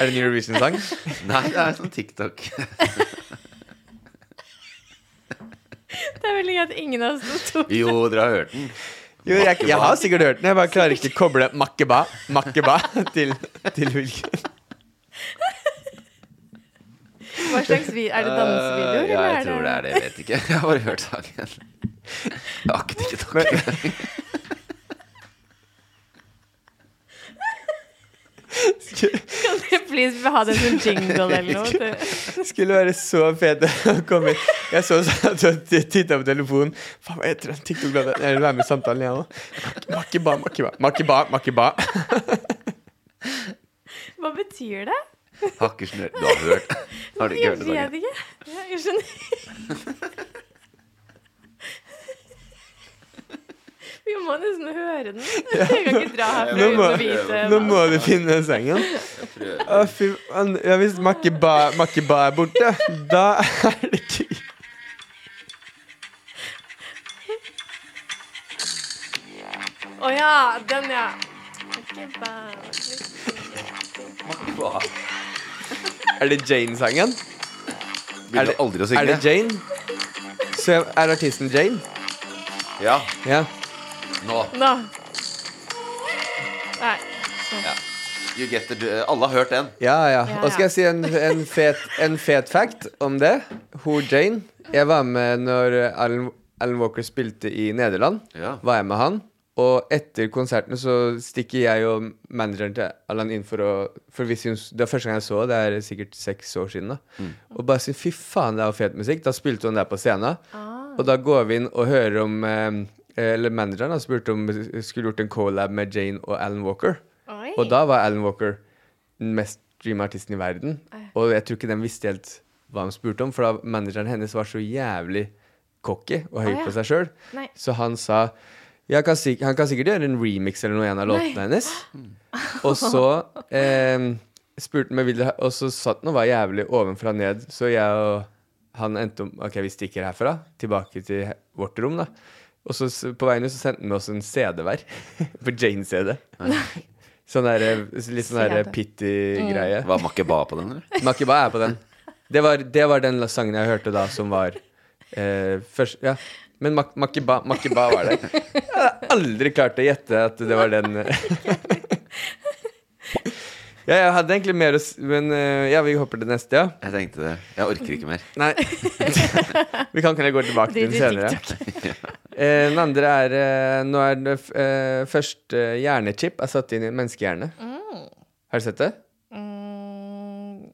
S2: Er det en Eurovision-sang?
S3: Nei, det er sånn TikTok.
S4: Det er veldig gøy at ingen av [LAUGHS] oss to
S3: Jo, dere har hørt den.
S2: Jo, jeg, jeg har sikkert hørt den. Jeg bare klarer ikke å koble makkeba, makkeba til, til hvilken
S4: Hva slags vi, Er det
S3: ja,
S4: dansevideoer, eller
S3: jeg tror det er det. Jeg vet ikke. Jeg har bare hørt sangen. Jeg har ikke TikTok
S2: Men-
S3: engang.
S4: Kan dere [LAUGHS] please ha det som sånn jingle eller noe? Det-
S2: Skulle være så fet [LAUGHS] å komme inn. Jeg så sånn at du titta på telefonen. Faen, hva heter den TikTok-låta? Jeg vil være med i samtalen, jeg òg. Makkeba, makkeba, makkeba, makkeba.
S4: Hva betyr det?
S3: Har ikke snø- Du har hørt
S4: [LAUGHS]
S3: Har du ikke
S4: Jeg
S3: hørt det?
S4: vet
S3: Torgeir?
S4: ikke. Ja, Jeg skjønner [LAUGHS] Vi må nesten høre den. Jeg kan ikke dra herfra
S2: Nå
S4: uten
S2: må,
S4: å vite
S2: nå må du finne den sangen. Å, fy faen. Ja, hvis makkeba, makkeba er borte, da er det krig.
S4: Å ja, den, ja. Ikke bare-
S2: Er det Jane-sangen? Er
S3: Begynner
S2: det,
S3: aldri å synge.
S2: er det Jane? Så er artisten Jane?
S3: Ja.
S2: Ja.
S3: Nå.
S4: Nå. Nei. sånn.
S3: Ja. You get the Alle har hørt den.
S2: Ja, ja.
S4: Ja,
S2: Og skal
S4: ja.
S2: jeg si en, en, fet, en fet fact om det? Hun Jane Jeg var med når Alan, Alan Walker spilte i Nederland.
S3: Ja.
S2: Var jeg med han. Og etter konserten så stikker jeg og manageren til Allan inn for å For vi syns, det er første gang jeg så det er sikkert seks år siden. da
S9: Mm.
S2: Og bare sier 'fy faen, det er jo fet musikk'. Da spilte hun der på scenen.
S4: Ah.
S2: Og da går vi inn og hører om eh, Eller manageren har spurt om vi skulle gjort en collab med Jane og Alan Walker.
S4: Oi.
S2: Og da var Alan Walker den mest streama artisten i verden. Og jeg tror ikke den visste helt hva han spurte om, for da manageren hennes var så jævlig cocky og høy
S9: Å, ja.
S2: på seg sjøl.
S9: Nei.
S2: Så han sa jeg kan sik Han kan sikkert gjøre en remix eller noe i en av
S9: Nei.
S2: låtene hennes. Og så eh, spurte han meg vil du ha- Og så satt han og var jævlig ovenfra og ned, så jeg og han endte om OK, vi stikker herfra. Tilbake til he- vårt rom, da. Og så s- på veien ut så sendte han med oss en CD [LAUGHS] hver. På Jane-CD. Sånn der, eh, litt sånn der eh,
S3: CD.
S2: pitty-greie.
S3: Mm. Var Makeba på den, eller?
S2: Makeba er på den. Det var, det var den sangen jeg hørte da, som var eh, først Ja. Men Mak Makeba, Makeba var det. Jeg hadde aldri klart å gjette at det var den. eh. [LAUGHS] ja, jeg hadde egentlig mer å s... Men eh, ja, vi hopper til neste, ja.
S3: Jeg tenkte det. Jeg orker ikke mer.
S2: Nei. [LAUGHS] vi kan kunne gå tilbake til den senere. [LAUGHS] Eh, Den andre er eh, Nå er det f- eh, første hjernechip er satt inn i en menneskehjerne.
S4: Mm.
S2: Har du sett det?
S4: Mm.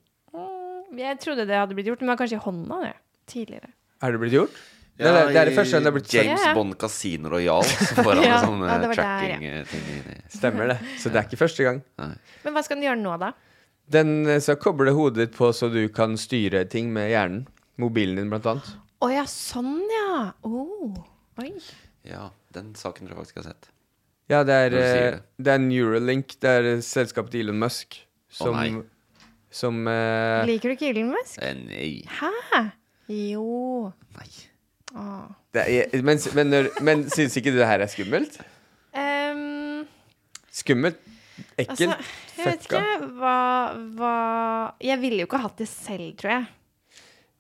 S4: Jeg trodde det hadde blitt gjort, men det var kanskje i hånda det. Tidligere.
S2: Er det blitt gjort? det, er, det er det første gang det er blitt
S3: James
S4: Ja.
S3: Bond Casino Royal. Så får han
S4: Ja.
S3: en sånn
S4: Ja, det var der,
S3: tracking-ting inni.
S2: Stemmer det. Så det er ikke første gang.
S4: Men hva skal den gjøre nå, da?
S2: Den eh, skal koble hodet ditt på så du kan styre ting med hjernen. Mobilen din, blant annet.
S4: Å ja, sånn ja. Oh. Oi.
S3: Ja, den saken tror jeg faktisk jeg har sett.
S2: Ja, det
S3: Når
S2: er,
S3: du sier
S2: eh, det er Neuralink. Det er eh, selskapet til Elon Musk som
S3: nei.
S2: Som eh,
S4: Liker du ikke Elon Musk?
S3: Eh, Nei.
S4: Hæ? Jo. Nei.
S2: Det er, eh, men s- men, når- men syns ikke du det her er skummelt? Skummelt? Ekkelt?
S4: altså, jeg vet
S2: fucka?
S4: ikke hva, hva Jeg ville jo ikke hatt det selv, tror jeg.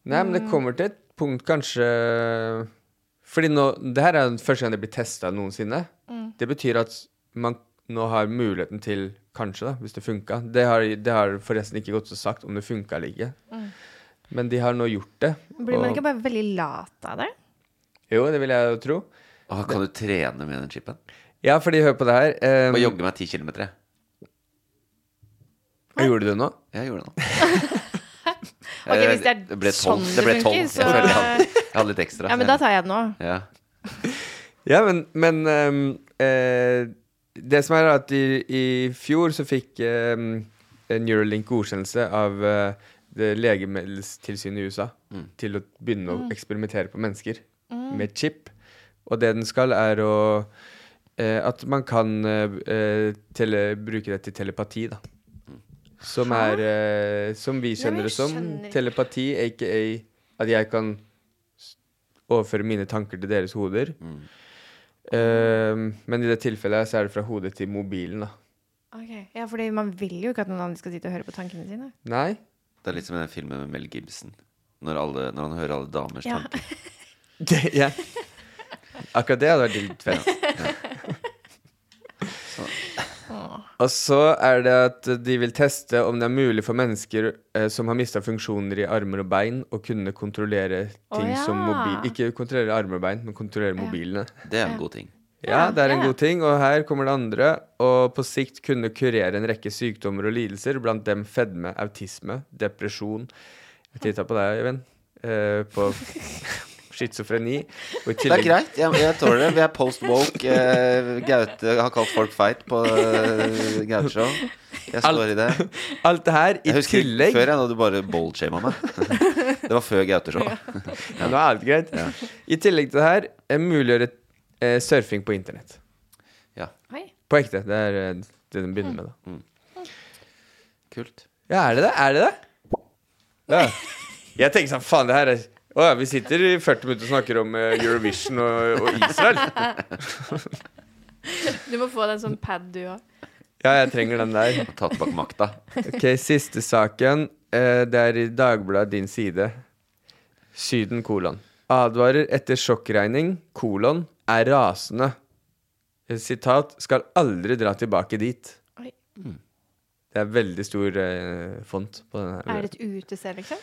S2: Nei, men det
S4: Mm.
S2: kommer til et punkt kanskje Fordi nå, det her er den første gang det blir testa noensinne.
S4: Mm.
S2: Det betyr at man nå har muligheten til Kanskje, da, hvis det funka. Det har, det har forresten ikke gått så sagt om det funka eller ikke.
S4: Mm.
S2: Men de har nå gjort det.
S4: Blir man
S2: og-
S4: ikke bare veldig lat av det?
S2: Jo, det vil jeg jo tro.
S3: Ah, kan du trene med den chipen?
S2: Ja, fordi hør på det her. Um,
S3: Bare jogge meg 10 km.
S2: Gjorde du det nå?
S3: Jeg gjorde det nå.
S4: Ok, hvis det er
S3: Eh, det ble
S4: sånn
S3: 12.
S4: det
S3: Det ble
S4: funker,
S3: 12. Jeg,
S4: så-
S3: føler jeg, hadde, jeg hadde litt ekstra.
S4: Ja, men da tar jeg den nå.
S3: Ja.
S2: Ja, men, men ehm, eh, Det som er er at i, i fjor så fikk ehm, Neuralink godkjennelse av eh, det legemiddeltilsynet i USA
S3: Mm.
S2: til å begynne å
S3: Mm.
S2: eksperimentere på mennesker
S3: Mm.
S2: med chip. Og det den skal, er å eh, At man kan eh, eh, tele, bruke det til telepati, da. Som er eh, Som
S9: Nei,
S2: vi
S9: men
S2: skjønner det som.
S9: jeg skjønner ikke.
S2: Telepati, aka at jeg kan s- overføre mine tanker til deres hoder. Ehm, men i det tilfellet så er det fra hodet til mobilen, da.
S4: Ok, Ja, fordi man vil jo ikke at noen andre skal sitte og høre på tankene sine.
S2: Nei?
S3: Det er litt som i den filmen med Mel Gibson. Når, alle, når han hører alle damers
S4: Ja.
S3: tanker.
S2: [LAUGHS] Det, ja. Akkurat det hadde vært litt fett. Og så er det at de vil teste om det er mulig for mennesker eh, som har mista funksjoner i armer og bein, å kunne kontrollere
S9: Å
S2: ting som
S9: ja.
S2: mobil Ikke kontrollere armer og bein, men kontrollere
S9: Ja.
S2: mobilene.
S3: Det er en god ting.
S2: Ja, det er en
S9: Ja.
S2: god ting. Og her kommer det andre. Og på sikt kunne kurere en rekke sykdommer og lidelser, blant dem fedme, autisme, depresjon Jeg titta på deg, Øyvind. eh, på [LAUGHS] schizofreni. og i
S3: Det er
S2: tillegg-
S3: greit. Jeg, jeg tåler det. Vi er post-woke. Eh, Gaute har kalt folk feit på eh, Gaute-show. Jeg står i det.
S2: Alt det her i
S3: jeg husker
S2: tillegg-
S3: Før jeg da du bare bold-shama meg. Det var før Gaute-showet.
S2: Ja, nå er alt greit. I tillegg til det her eh, muliggjøre eh, surfing på internett.
S3: Ja.
S4: [LAUGHS] Oi.
S2: På ekte. Det er eh, det den begynner med, da.
S3: Kult.
S2: Ja, er det det? Er det det? Ja. Jeg tenker sånn, faen, det her er Å ja, vi sitter i 40 minutter og snakker om eh, Eurovision og, og Israel.
S4: Du må få deg en sånn pad, du òg.
S2: ja, jeg trenger den der.
S3: Ta tilbake makta.
S2: Ok, siste saken. Eh, Det er i Dagbladet din side. Syden, kolon. Advarer etter sjokkregning, kolon, er rasende. Eh, Sitat, skal aldri dra tilbake dit.
S4: Oi.
S3: Mm.
S2: Det er veldig stor eh, font på den her.
S4: Er det et utested, liksom?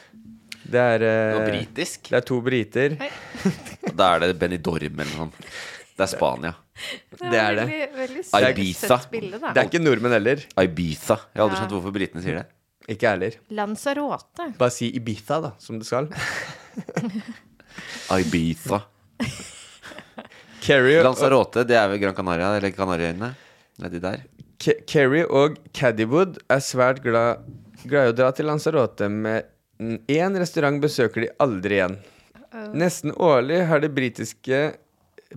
S2: Det er eh,
S3: Det var britisk.
S2: Det er to briter.
S4: Oi.
S3: Da er det Benidorm eller noe sånt. Det er Spania.
S4: Det
S3: Det
S4: var
S3: er det.
S4: veldig, veldig søtt-
S3: Ibiza.
S4: søtt bilde, da.
S2: Det er ikke nordmenn heller.
S3: Ibiza. Jeg har aldri
S4: Ja.
S3: skjønt hvorfor britene sier det.
S2: Ikke jeg heller.
S4: [LAUGHS] Lanzarote.
S2: Bare si Ibiza, da, som det skal.
S3: Ibiza.
S2: Carrie
S3: Lanzarote, det er vel Gran Canaria, eller Kanariøyene? Nedi der.
S2: Ke- Kerry og Caddywood er svært glad, glad i å dra til Lanzarote med én restaurant besøker de aldri igjen. Nesten årlig har det britiske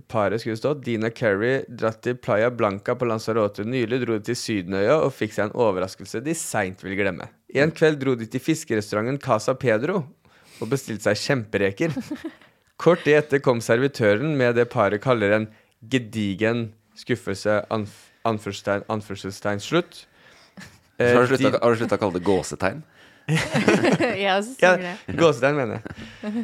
S2: paret skulle det stå, Dean og Kerry dratt til Playa Blanca på Lanzarote. Nylig dro de til Sydenøya og fikk seg en overraskelse de seint vil glemme. En kveld dro de til fiskerestauranten Casa Pedro og bestilte seg
S4: [LAUGHS]
S2: kjempereker. Kort tid etter kom servitøren med det paret kaller en gedigen skuffelse, anf anførselstegn, anførselstegn,
S3: [LAUGHS]
S2: slutt. Eh,
S3: har du slutta
S2: de-
S3: har du slutta å kalle det gåsetegn?
S4: Jeg også
S2: ja,
S4: sier det.
S2: gåsetegn, mener jeg.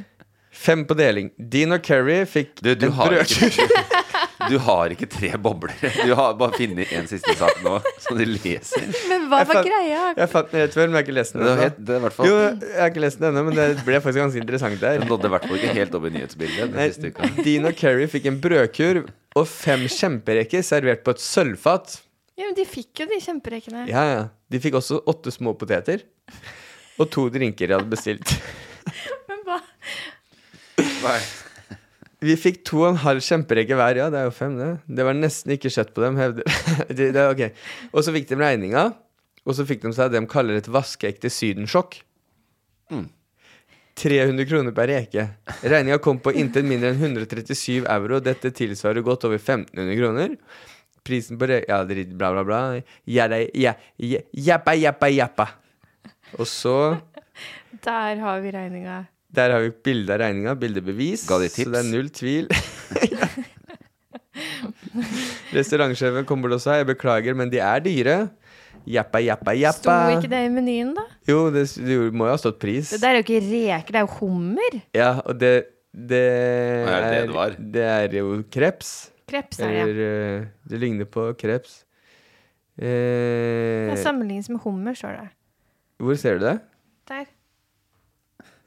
S2: Fem på deling. Dean og Kerry fikk
S3: Du, du,
S2: en
S3: har
S2: brødskive.
S3: ikke, du har ikke tre bobler. Du har bare funnet en siste sak nå, som de leser.
S4: [LAUGHS] Men hva var
S2: Jeg fant-
S4: greia?
S2: Jeg fant den rett før, men jeg har ikke lest den
S3: Det var
S2: ennå.
S3: helt- det er i hvert fall-
S2: Jo, jeg har ikke lest den ennå, men det ble faktisk ganske interessant der.
S3: Den nådde i hvert fall ikke helt opp i nyhetsbildet. Den siste uka.
S2: Nei, Dean og Kerry fikk en brødkurv og fem kjempereker servert på et sølvfat.
S4: Ja, men de fikk jo de kjemperekene.
S2: Ja, ja. De fikk også åtte små poteter og to drinker de hadde bestilt.
S4: Men hva?
S2: Vi fikk to og en halv kjemperekke hver, ja. Det er jo fem, det. Det var nesten ikke kjøtt på dem, hevder [LAUGHS] det, det, er ok. Og så fikk de regninga, og så fikk de seg det de kaller et vaskeekte sydensjokk. 300 kroner per reke. Regninga kom på intet mindre enn 137 euro. Dette tilsvarer godt over 1500 kroner. Prisen på re... Ja, drit, bla, bla, bla. Jada, ja, ja, jappa, jappa, jappa. Og så
S4: Der har vi regninga.
S2: Der har vi bilde av regninga, bildebevis.
S3: Ga de tips?
S2: Så det er null tvil. [LAUGHS] Restaurantsjefen kommer til å si jeg beklager, men de er dyre. Jappa, jappa,
S4: Sto
S2: jappa.
S4: ikke det i menyen, da?
S2: Jo, det, s- det må jo ha stått pris.
S4: Det der er jo ikke reker, det er jo hummer.
S2: Ja, og det Det
S3: Hva er det det var?
S2: det er jo kreps.
S4: Kreps er det, ja.
S2: Eller eh, det ligner på kreps. Eh,
S4: Det sammenlignes med hummer, står det.
S2: hvor ser du det?
S4: Der.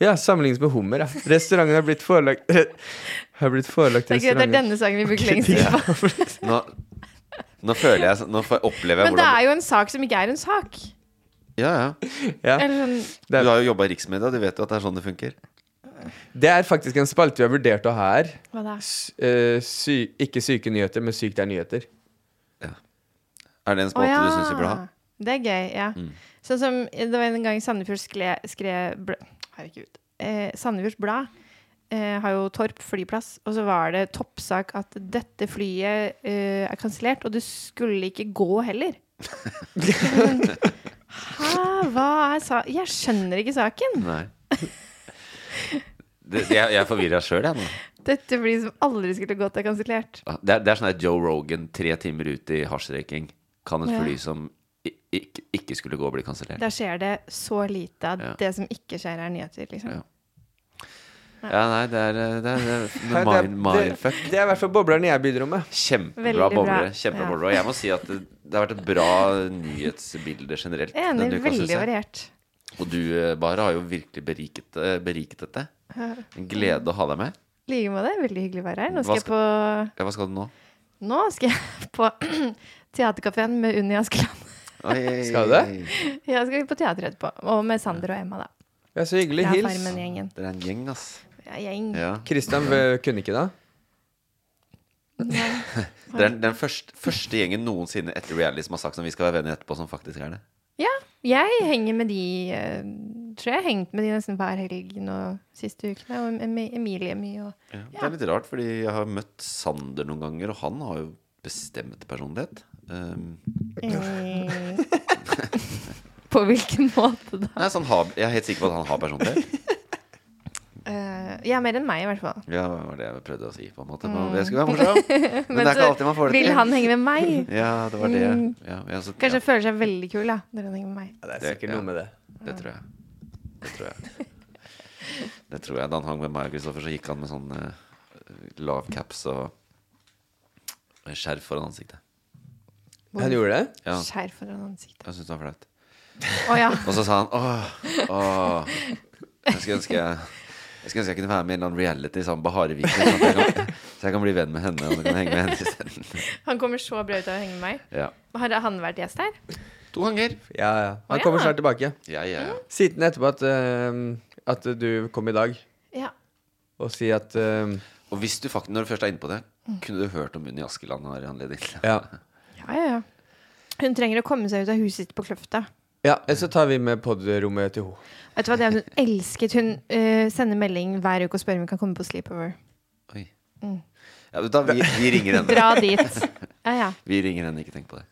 S2: Ja, sammenlignes med hummer. Ja. Restauranten har blitt forelagt [LAUGHS] Har blitt forelagt
S4: Det er greit, det er
S2: restauranten.
S4: denne sangen vi bruker lengst tid på.
S3: Nå, nå føler jeg Nå får- opplever jeg
S4: Men det
S3: hvordan
S4: er jo en sak som ikke er en sak.
S3: Ja, ja.
S2: Ja.
S4: Eller sånn
S2: Det er-
S3: Du har jo jobba i riksmedia, du vet jo at det er sånn det funker.
S2: Det er faktisk en spalte vi har vurdert å ha her.
S4: Hva da?
S2: S- eh, sy ikke syke nyheter, men sykt er nyheter.
S3: Er Mm. det en
S4: Å
S3: spalte du syns vi burde ha?
S4: Det er gøy, ja. Sånn som det var en gang Sandefjord skle- skrev bl Herregud. Eh, Sandefjords Blad eh, har jo Torp flyplass, og så var det toppsak at dette flyet eh, er kansellert, og det skulle ikke gå
S3: [LAUGHS]
S4: heller. Men, Hæ, hva er sa... Jeg skjønner ikke saken.
S3: Nei. Det, jeg jeg er forvirra sjøl, jeg nå.
S4: Dette flyet som aldri skulle gått, er kansellert.
S3: Ja, Det er, det er sånn der Joe Rogan tre timer ut i hasjrøyking. Kan et
S4: Ja.
S3: fly som i- ikke, ikke skulle gå, bli kansellert?
S4: Der skjer det så lite av
S3: Ja.
S4: det som ikke skjer, er nyheter, liksom.
S3: Ja. Ja, nei, det er, eh, det er,
S2: [LAUGHS]
S3: det
S2: Her,
S3: er
S2: det er-
S3: mind,
S2: det,
S3: mindfuck.
S2: det er i hvert fall boblerne jeg bidro med.
S3: Kjempebra
S4: Veldig bra.
S3: boblere. Kjempebra
S4: Ja.
S3: boblere. Og jeg må si at det, det har vært et bra nyhetsbilde generelt.
S4: Enig.
S3: denne uka, synes
S4: Veldig
S3: jeg.
S4: variert.
S3: Og du, eh, Bare, har jo virkelig beriket, eh, beriket dette.
S4: Ja.
S3: En glede å ha deg med.
S4: I like måte. Veldig hyggelig å være her. Nå
S3: Hva
S4: skal, jeg
S3: Ja, hva skal du nå?
S4: på Nå skal jeg [LAUGHS] på [CLEARS THROAT] Theaterkafeen med Unni Askeland. [LAUGHS]
S3: [LAUGHS] Oi,
S2: Skal du det?
S4: Jeg skal på teater etterpå. Og med Sander og Emma, da.
S2: Ja, så hyggelig.
S4: Fra
S2: Hils.
S4: Farmen-gjengen.
S3: Dere er en gjeng, ass.
S4: Ja, gjeng.
S3: Ja.
S2: Christian eh, kunne ikke da?
S3: Det er den første, første gjengen noensinne etter reality som har sagt som vi skal være venner etterpå, som faktisk er det.
S4: [LAUGHS] ja. Jeg henger med de eh, Tror jeg har hengt med de nesten hver helg nå siste ukene. Og Em- Emilie mye og
S3: Ja, Det er litt rart, fordi jeg har møtt Sander noen ganger, og han har jo bestemt personlighet. Um,
S4: eh, [LAUGHS] På hvilken måte, da?
S3: nei, så han har, jeg er helt sikker på at han har personlighet.
S4: Eh, ja, mer enn meg, i hvert fall.
S3: Ja, det var det jeg prøvde å si, på en måte. Men Det skulle være
S4: [LAUGHS]
S3: morsomt. Men, det er ikke
S4: Mm. så
S3: alltid man får det
S4: vil
S3: til.
S4: han henge med meg.
S3: [LAUGHS] Ja, det var det.
S4: Mm.
S3: Ja, ja, så,
S4: Kanskje
S3: ja,
S4: føler seg veldig kul da, når han henger med meg.
S2: det
S3: er sikkert noe med
S2: det.
S3: det tror jeg. Det tror jeg. Det tror jeg. Da han hang med meg og Kristoffer, så gikk han med sånn eh, lav caps og og skjerf foran ansiktet.
S2: Han gjorde det?
S3: Ja,
S4: Skjær foran ansiktet.
S3: jeg syns det var flaut.
S4: Å ja.
S3: Og så sa han åh, åh jeg skulle ønske jeg Jeg skulle ønske jeg kunne være med i en eller annen reality sammen med Hareviken. sånn at jeg kan- Så jeg kan bli venn med henne, og så kan jeg henge med henne isteden.
S4: Han kommer så bra ut av å henge med meg.
S3: Ja.
S4: Har han vært gjest her?
S3: To ganger.
S2: Ja, ja. Han
S4: Å,
S2: kommer
S4: ja.
S2: snart tilbake.
S3: Ja, ja, ja.
S2: Siden etterpå at, eh, at du kom i dag
S4: Ja.
S2: og si at eh,
S3: Og hvis du faktisk, når du først er inne på det, kunne du hørt om hun i Askeland har anledning til
S2: ja.
S4: Ja, ja, ja. Hun trenger å komme seg ut av huset sitt på Kløfta.
S2: ja, eh, så tar vi med podrommet til henne.
S4: Vet du hva, det er Hun elsket Hun eh, sender melding hver uke og spør om hun kan komme på sleepover.
S3: Ja, men da, vi, vi ringer henne.
S4: Dra dit. Ja, ja.
S3: Vi ringer henne, ikke tenk på det.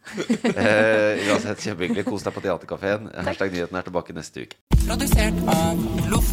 S3: Eh, uansett, kjempehyggelig. Kos deg på Theatercaféen. Hashtag nyheten er tilbake neste uke.
S10: Produsert av Loff.